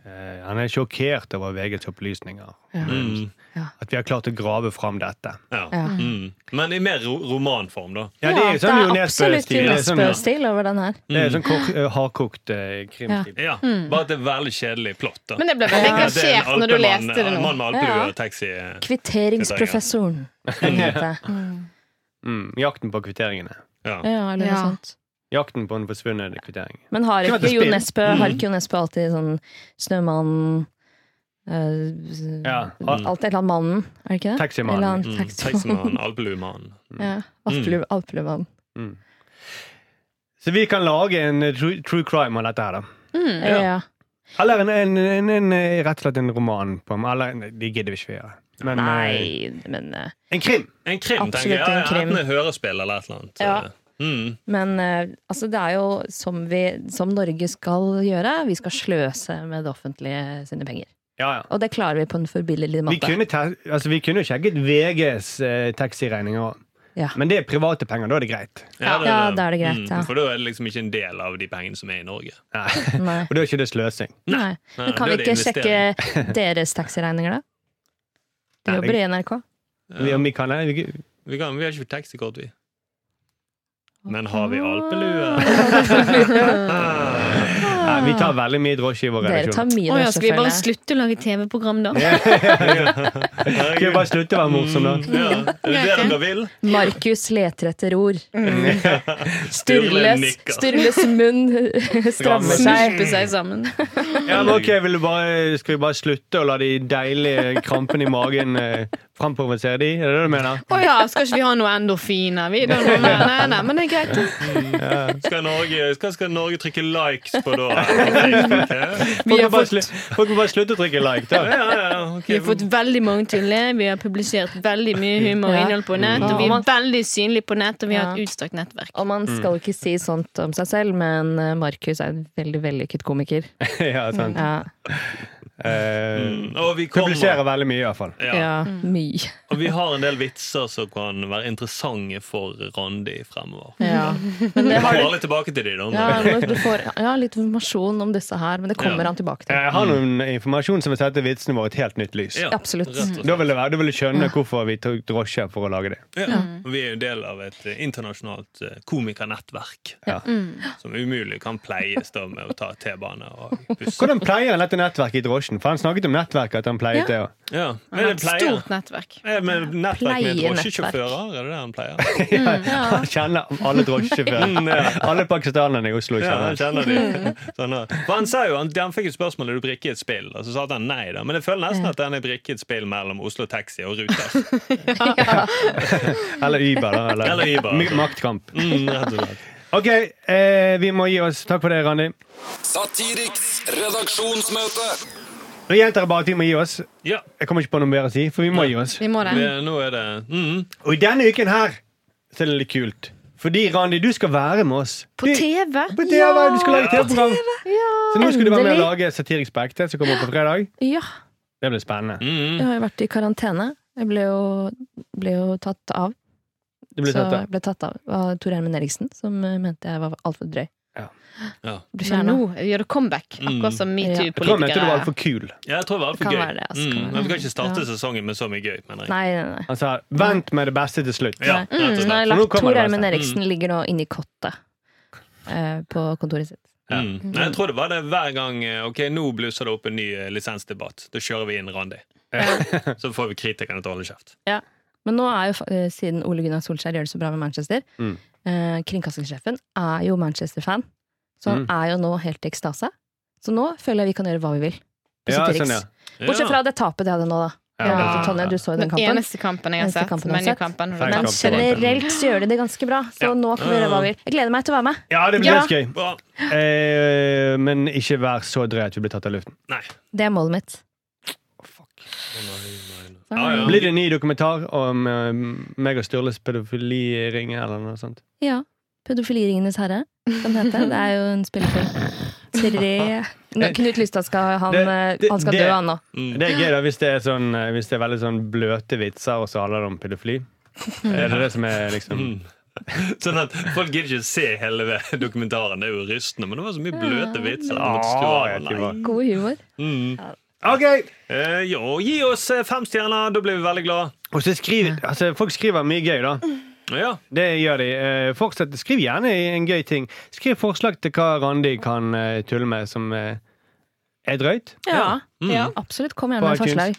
Speaker 4: eh, han er sjokkert over VGs opplysninger.
Speaker 6: Ja.
Speaker 3: Mm.
Speaker 4: At vi har klart å grave fram dette.
Speaker 3: Ja.
Speaker 6: Ja.
Speaker 3: Mm. Men i mer ro romanform, da.
Speaker 4: Ja, det er jo sånn Jo Nesbø-stil.
Speaker 6: absolutt Mm. Jo
Speaker 4: Det er sånn, ja.
Speaker 6: Nesbø-stil over den her.
Speaker 4: Det er sånn kok- eh, hardkokt eh, krimstil.
Speaker 3: Ja,
Speaker 6: Mm.
Speaker 3: Bare at det er veldig kjedelig plott. da
Speaker 2: Men jeg ble veldig
Speaker 3: Ja, det er en
Speaker 2: engasjert når du
Speaker 3: alpemann-
Speaker 2: leste det
Speaker 3: en
Speaker 2: nå.
Speaker 3: Mann med alpelue
Speaker 6: Ja.
Speaker 3: og taxi. eh,
Speaker 6: Kvitteringsprofessoren. Den heter det.
Speaker 4: Mm, jakten på kvitteringene.
Speaker 3: Ja.
Speaker 6: Ja, eller noe
Speaker 2: Ja.
Speaker 6: sånt.
Speaker 4: Jakten på en forsvunnet kvittering.
Speaker 6: Men har
Speaker 4: Kunne vært
Speaker 6: ikke
Speaker 4: et
Speaker 6: Jo
Speaker 4: spill.
Speaker 6: Nesbø, har ikke Jo Nesbø alltid sånn Snømannen eh,
Speaker 4: Ja, al-
Speaker 6: Alt et eller annet mannen, er det ikke det?
Speaker 4: Taximannen.
Speaker 6: Eller annen
Speaker 3: Mm.
Speaker 6: Taximannen.
Speaker 3: Taximann, alpeluemann.
Speaker 6: Ja. Alpelue- Alpeluvemannen.
Speaker 4: Så vi kan lage en eh, true, true crime av dette her, da.
Speaker 2: Mm.
Speaker 6: Ja. Ja.
Speaker 4: Eller en, en, en, en, eh, rett og slett en roman. På, eller en- det gidder vi ikke å gjøre. Men eh,
Speaker 6: Nei, men, eh,
Speaker 4: en krim!
Speaker 3: En krim,
Speaker 6: Absolutt
Speaker 3: tenker jeg.
Speaker 6: en
Speaker 3: Ja,
Speaker 6: krim.
Speaker 3: Enten et hørespill eller et eller annet.
Speaker 6: Ja.
Speaker 3: Mm.
Speaker 6: men eh, altså, det er jo som, vi, som Norge skal gjøre. Vi skal sløse med det offentlige sine penger.
Speaker 4: Ja, ja.
Speaker 6: Og det klarer vi på en forbilledlig
Speaker 4: Vi
Speaker 6: måte.
Speaker 4: kunne, ta, altså, vi kunne jo sjekket VGs eh, taxiregninger òg.
Speaker 6: Ja.
Speaker 4: Men det er private penger, da er det greit.
Speaker 6: Ja, ja, da er det greit, ja.
Speaker 3: For da er det liksom ikke en del av de pengene som er i Norge.
Speaker 4: Nei.
Speaker 6: Nei.
Speaker 4: Og da er ikke det sløsing.
Speaker 6: Nei. Men kan
Speaker 3: da
Speaker 6: vi
Speaker 3: er det
Speaker 6: ikke sjekke deres taxiregninger, da? Du
Speaker 4: Nei,
Speaker 6: jobber i NRK.
Speaker 4: Vi, om vi kan det. Vi,
Speaker 3: Vi, kan, vi har ikke taxikort, vi. Men har vi alpelue?
Speaker 4: nei, vi tar veldig mye drosje i vår
Speaker 6: Dere tar
Speaker 4: redaksjon.
Speaker 6: mye
Speaker 2: Å ja, skal vi bare
Speaker 6: drosjefølge.
Speaker 2: slutte å lage TV-program, da?
Speaker 4: Kan vi bare slutte å være morsomme, da?
Speaker 3: Mm. Ja. Er det det dere vil?
Speaker 6: Markus leter etter ord.
Speaker 3: Sturle
Speaker 6: Sturles,
Speaker 3: nikker.
Speaker 6: Sturles munn strammer seg.
Speaker 2: Snipe seg sammen.
Speaker 4: Ja, men ok, vil du bare, Skal vi bare slutte å la de deilige krampene i magen eh, framprovosere de? Er det det du mener?
Speaker 2: Å ja, skal ikke vi ha noe endorfiner? Vi da, nei, nei, nei, men det er greit.
Speaker 3: Skal Norge, skal, skal Norge trykke likes på da? Ok.
Speaker 4: Folk må bare, slu- folk må bare slutte å trykke like, da.
Speaker 3: Ja, ja, ok.
Speaker 2: Vi har fått veldig mange til å le. Vi har publisert veldig mye humor og
Speaker 6: Ja.
Speaker 2: innhold på nett. Og vi er veldig synlige på nett, og vi har et
Speaker 6: Ja.
Speaker 2: utstrakt nettverk.
Speaker 6: Og man skal ikke si sånt om seg selv, men eh, Markus er en veldig vellykket komiker.
Speaker 4: Ja, sant.
Speaker 6: Ja,
Speaker 4: Eh,
Speaker 3: Og vi
Speaker 4: publiserer
Speaker 3: kommer.
Speaker 4: veldig mye, i hvert fall.
Speaker 3: Ja.
Speaker 6: ja mye.
Speaker 3: Og vi har en del vitser som kan være interessante for Randi fremover.
Speaker 6: Ja. Men det
Speaker 3: Jeg
Speaker 6: har
Speaker 3: kommer
Speaker 6: du
Speaker 3: aldri tilbake til de da.
Speaker 6: ja,
Speaker 3: men-
Speaker 6: når du får ja, litt informasjon om disse her, men det kommer
Speaker 3: Ja.
Speaker 6: han tilbake til.
Speaker 4: Jeg har noen informasjon som vil sette vitsene våre i et helt nytt lys.
Speaker 3: Ja,
Speaker 6: Absolutt.
Speaker 3: rett og slett.
Speaker 4: Da vil, det være, da vil du skjønne hvorfor vi tok drosje for å lage det.
Speaker 3: Ja. Og vi er jo del av et eh, internasjonalt eh, komikernettverk
Speaker 4: Ja.
Speaker 3: som umulig kan pleies da med å ta T-bane og buss.
Speaker 4: Hvordan pleier han dette nettverket i drosjen? For han snakket om nettverket, at han pleiet det. og-
Speaker 3: Ja,
Speaker 2: Vi
Speaker 3: men
Speaker 2: har
Speaker 3: det
Speaker 2: et
Speaker 3: pleier.
Speaker 2: stort nettverk.
Speaker 3: Er det med nettverk med
Speaker 6: Pleienettverk.
Speaker 3: drosjesjåfører? Er det det han pleier?
Speaker 4: Han kjenner alle drosjesjåfører. Alle pakistanerne i Oslo
Speaker 3: Mm, Ja,
Speaker 4: kjenner
Speaker 3: han
Speaker 4: han.
Speaker 3: kjenner de. Sånn, ja. For han sa jo, han, han fikk jo spørsmål er du brikke i et spill, og så sa at han nei. da Men jeg føler nesten at han er brikke i et spill mellom Oslo Taxi og Ruter.
Speaker 4: Eller Uber. da, Eller,
Speaker 3: Eller Uber.
Speaker 4: Mi- Maktkamp.
Speaker 3: Mm, rett og slett.
Speaker 4: Ok, eh, vi må gi oss. Takk for det, Randi.
Speaker 5: Satiriks redaksjonsmøte.
Speaker 4: Nå gjentar jeg bare at vi må gi oss.
Speaker 3: Ja,
Speaker 4: Jeg kommer ikke på noe mer å si, for vi må gi oss.
Speaker 2: Vi må det.
Speaker 3: vi, nå er det mm,
Speaker 4: Og i denne uken her så er det litt kult. Fordi, Randi, du skal være med oss.
Speaker 2: På
Speaker 4: Du-
Speaker 2: TV?
Speaker 4: På TV, Du skal lage TV-program. Så nå skal du være med og
Speaker 6: Endelig.
Speaker 4: lage Satiriks på ekte, som kommer på fredag.
Speaker 6: Ja,
Speaker 4: Det blir spennende.
Speaker 3: mm.
Speaker 6: jeg har jo vært i karantene. Jeg ble jo, ble jo tatt av.
Speaker 4: Det blir
Speaker 6: så
Speaker 4: tatt av.
Speaker 6: jeg ble tatt av av Tor Hermen Eriksen, som eh, mente jeg var altfor drøy.
Speaker 4: Ja.
Speaker 3: Ja.
Speaker 6: Ble
Speaker 2: Men
Speaker 6: fjernet.
Speaker 2: nå gjør det comeback,
Speaker 4: Mm.
Speaker 2: akkurat som
Speaker 4: Jeg tror han mente du var
Speaker 2: metoo-politikere.
Speaker 4: altfor kul.
Speaker 3: Ja, jeg tror det var altfor
Speaker 6: Kan
Speaker 3: gøy.
Speaker 6: være det, altså, kan
Speaker 3: mm. Men
Speaker 6: være
Speaker 3: vi
Speaker 6: det.
Speaker 3: kan ikke starte
Speaker 6: Ja.
Speaker 3: sesongen med så mye gøy, mener jeg.
Speaker 6: Nei, nei, nei.
Speaker 4: Han sa 'vent med det beste til slutt'.
Speaker 3: Ja,
Speaker 6: Nei. Mm,
Speaker 3: rett og
Speaker 6: Nei,
Speaker 3: slett.
Speaker 4: la- nå
Speaker 6: lagt
Speaker 4: kommer
Speaker 6: Tor
Speaker 4: det Mm.
Speaker 6: Ermen
Speaker 4: verste.
Speaker 6: Eriksen ligger nå inni kottet eh, på kontoret sitt.
Speaker 3: Mm. Nei, jeg tror det var det hver gang eh, Ok, nå blusser det opp en ny eh, lisensdebatt. Da kjører vi inn Randi. Så får vi kritikerne til å holde kjeft.
Speaker 6: Men nå er jo, fa- eh, siden Ole Gunnar Solskjær gjør det så bra med Manchester,
Speaker 4: Mm.
Speaker 6: eh, kringkastingssjefen er jo Manchester-fan. Så han
Speaker 4: Mm.
Speaker 6: er jo nå helt i ekstase. Så nå føler jeg vi kan gjøre hva vi vil. på
Speaker 4: Ja,
Speaker 6: Satiriks.
Speaker 4: sånn, ja.
Speaker 6: Bortsett fra det tapet de hadde nå, da.
Speaker 4: Ja.
Speaker 6: Altså, Tonje, du så jo den
Speaker 2: Den
Speaker 6: kampen.
Speaker 2: eneste kampen jeg har
Speaker 6: Eneste
Speaker 2: sett.
Speaker 6: kampen jeg har sett.
Speaker 2: ManU-kampen.
Speaker 4: Feil
Speaker 6: Men
Speaker 4: kamp. det var den.
Speaker 6: generelt så gjør de det ganske bra, så
Speaker 3: Ja.
Speaker 6: nå kan vi gjøre hva vi vil. Jeg gleder meg til å være med.
Speaker 4: ja, det blir
Speaker 2: Ja.
Speaker 4: litt gøy.
Speaker 3: Bra.
Speaker 4: Eh, men ikke vær så drøy at vi blir tatt av luften.
Speaker 3: Nei.
Speaker 6: Det er målet mitt.
Speaker 3: Ja, ja.
Speaker 4: Blir det en ny dokumentar om eh, meg og Sturles pedofiliring eller noe sånt?
Speaker 6: Ja. Pedofiliringenes herre, som det heter. Det er jo en spillefilm. Tre Nå, Knut Lystad skal, han, eh,
Speaker 4: Det- det-
Speaker 6: han skal
Speaker 4: det-
Speaker 6: dø, han nå.
Speaker 4: Det er gøy da, hvis det er, sånn, eh, hvis det er veldig sånn bløte vitser, og så handler det om pedofili. Er det det som er liksom
Speaker 3: Sånn at Folk gidder ikke se hele dokumentaren. Det er jo rystende, men det var så mye bløte vitser. at jeg måtte stå
Speaker 4: Ah,
Speaker 3: av.
Speaker 4: jeg
Speaker 3: Nei.
Speaker 4: tror det.
Speaker 6: God humor.
Speaker 4: Ok!
Speaker 3: Eh, jo, gi oss eh, fem stjerner, da blir vi veldig glade.
Speaker 4: Og så skriver, altså, folk skriver mye gøy, da.
Speaker 3: Ja.
Speaker 4: Det gjør de. Eh, Fortsett. Skriv gjerne en gøy ting. Skriv forslag til hva Randi kan eh, tulle med som eh, er drøyt.
Speaker 2: Ja.
Speaker 4: Mm.
Speaker 2: ja.
Speaker 6: Absolutt. Kom gjerne med
Speaker 4: På iTunes.
Speaker 6: forslag.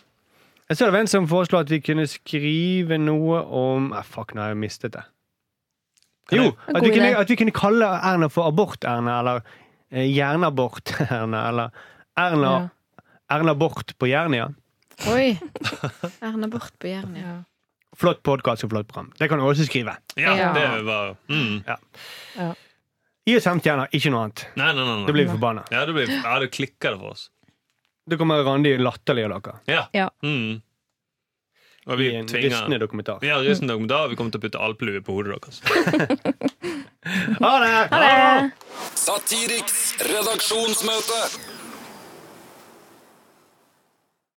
Speaker 4: Jeg så det var en som foreslo at vi kunne skrive noe om ah, Fuck, nå har jeg mistet det.
Speaker 3: Kan
Speaker 4: Jo,
Speaker 3: jeg-
Speaker 4: at vi,
Speaker 6: God
Speaker 4: kunne,
Speaker 6: idé.
Speaker 4: at vi kunne kalle Erna for Abort-Erna, eller eh, Jernabort-Erna, eller Erna,
Speaker 6: Ja.
Speaker 4: Erna Bort på Jernia.
Speaker 2: Oi. Erna Bort på Jernia.
Speaker 6: Ja.
Speaker 4: Flott podkast og flott program. Det kan du også skrive.
Speaker 3: ja,
Speaker 6: Ja.
Speaker 3: det var mm.
Speaker 4: Gi oss fem stjerner, ikke noe annet.
Speaker 3: Nei, nei, nei.
Speaker 4: Da
Speaker 3: nei.
Speaker 4: blir vi forbanna.
Speaker 3: Ja, det blir, ja, det klikker det for oss.
Speaker 4: Da kommer Randi latterlig av dere.
Speaker 3: Ja.
Speaker 6: Ja.
Speaker 3: Mm. Og
Speaker 4: I
Speaker 3: vi
Speaker 4: en rystende
Speaker 3: tvinger
Speaker 4: dokumentar.
Speaker 3: Vi har rystende dokumentar. Vi kommer til å putte alplue på hodet deres.
Speaker 4: Ha det!
Speaker 5: Satiriks redaksjonsmøte.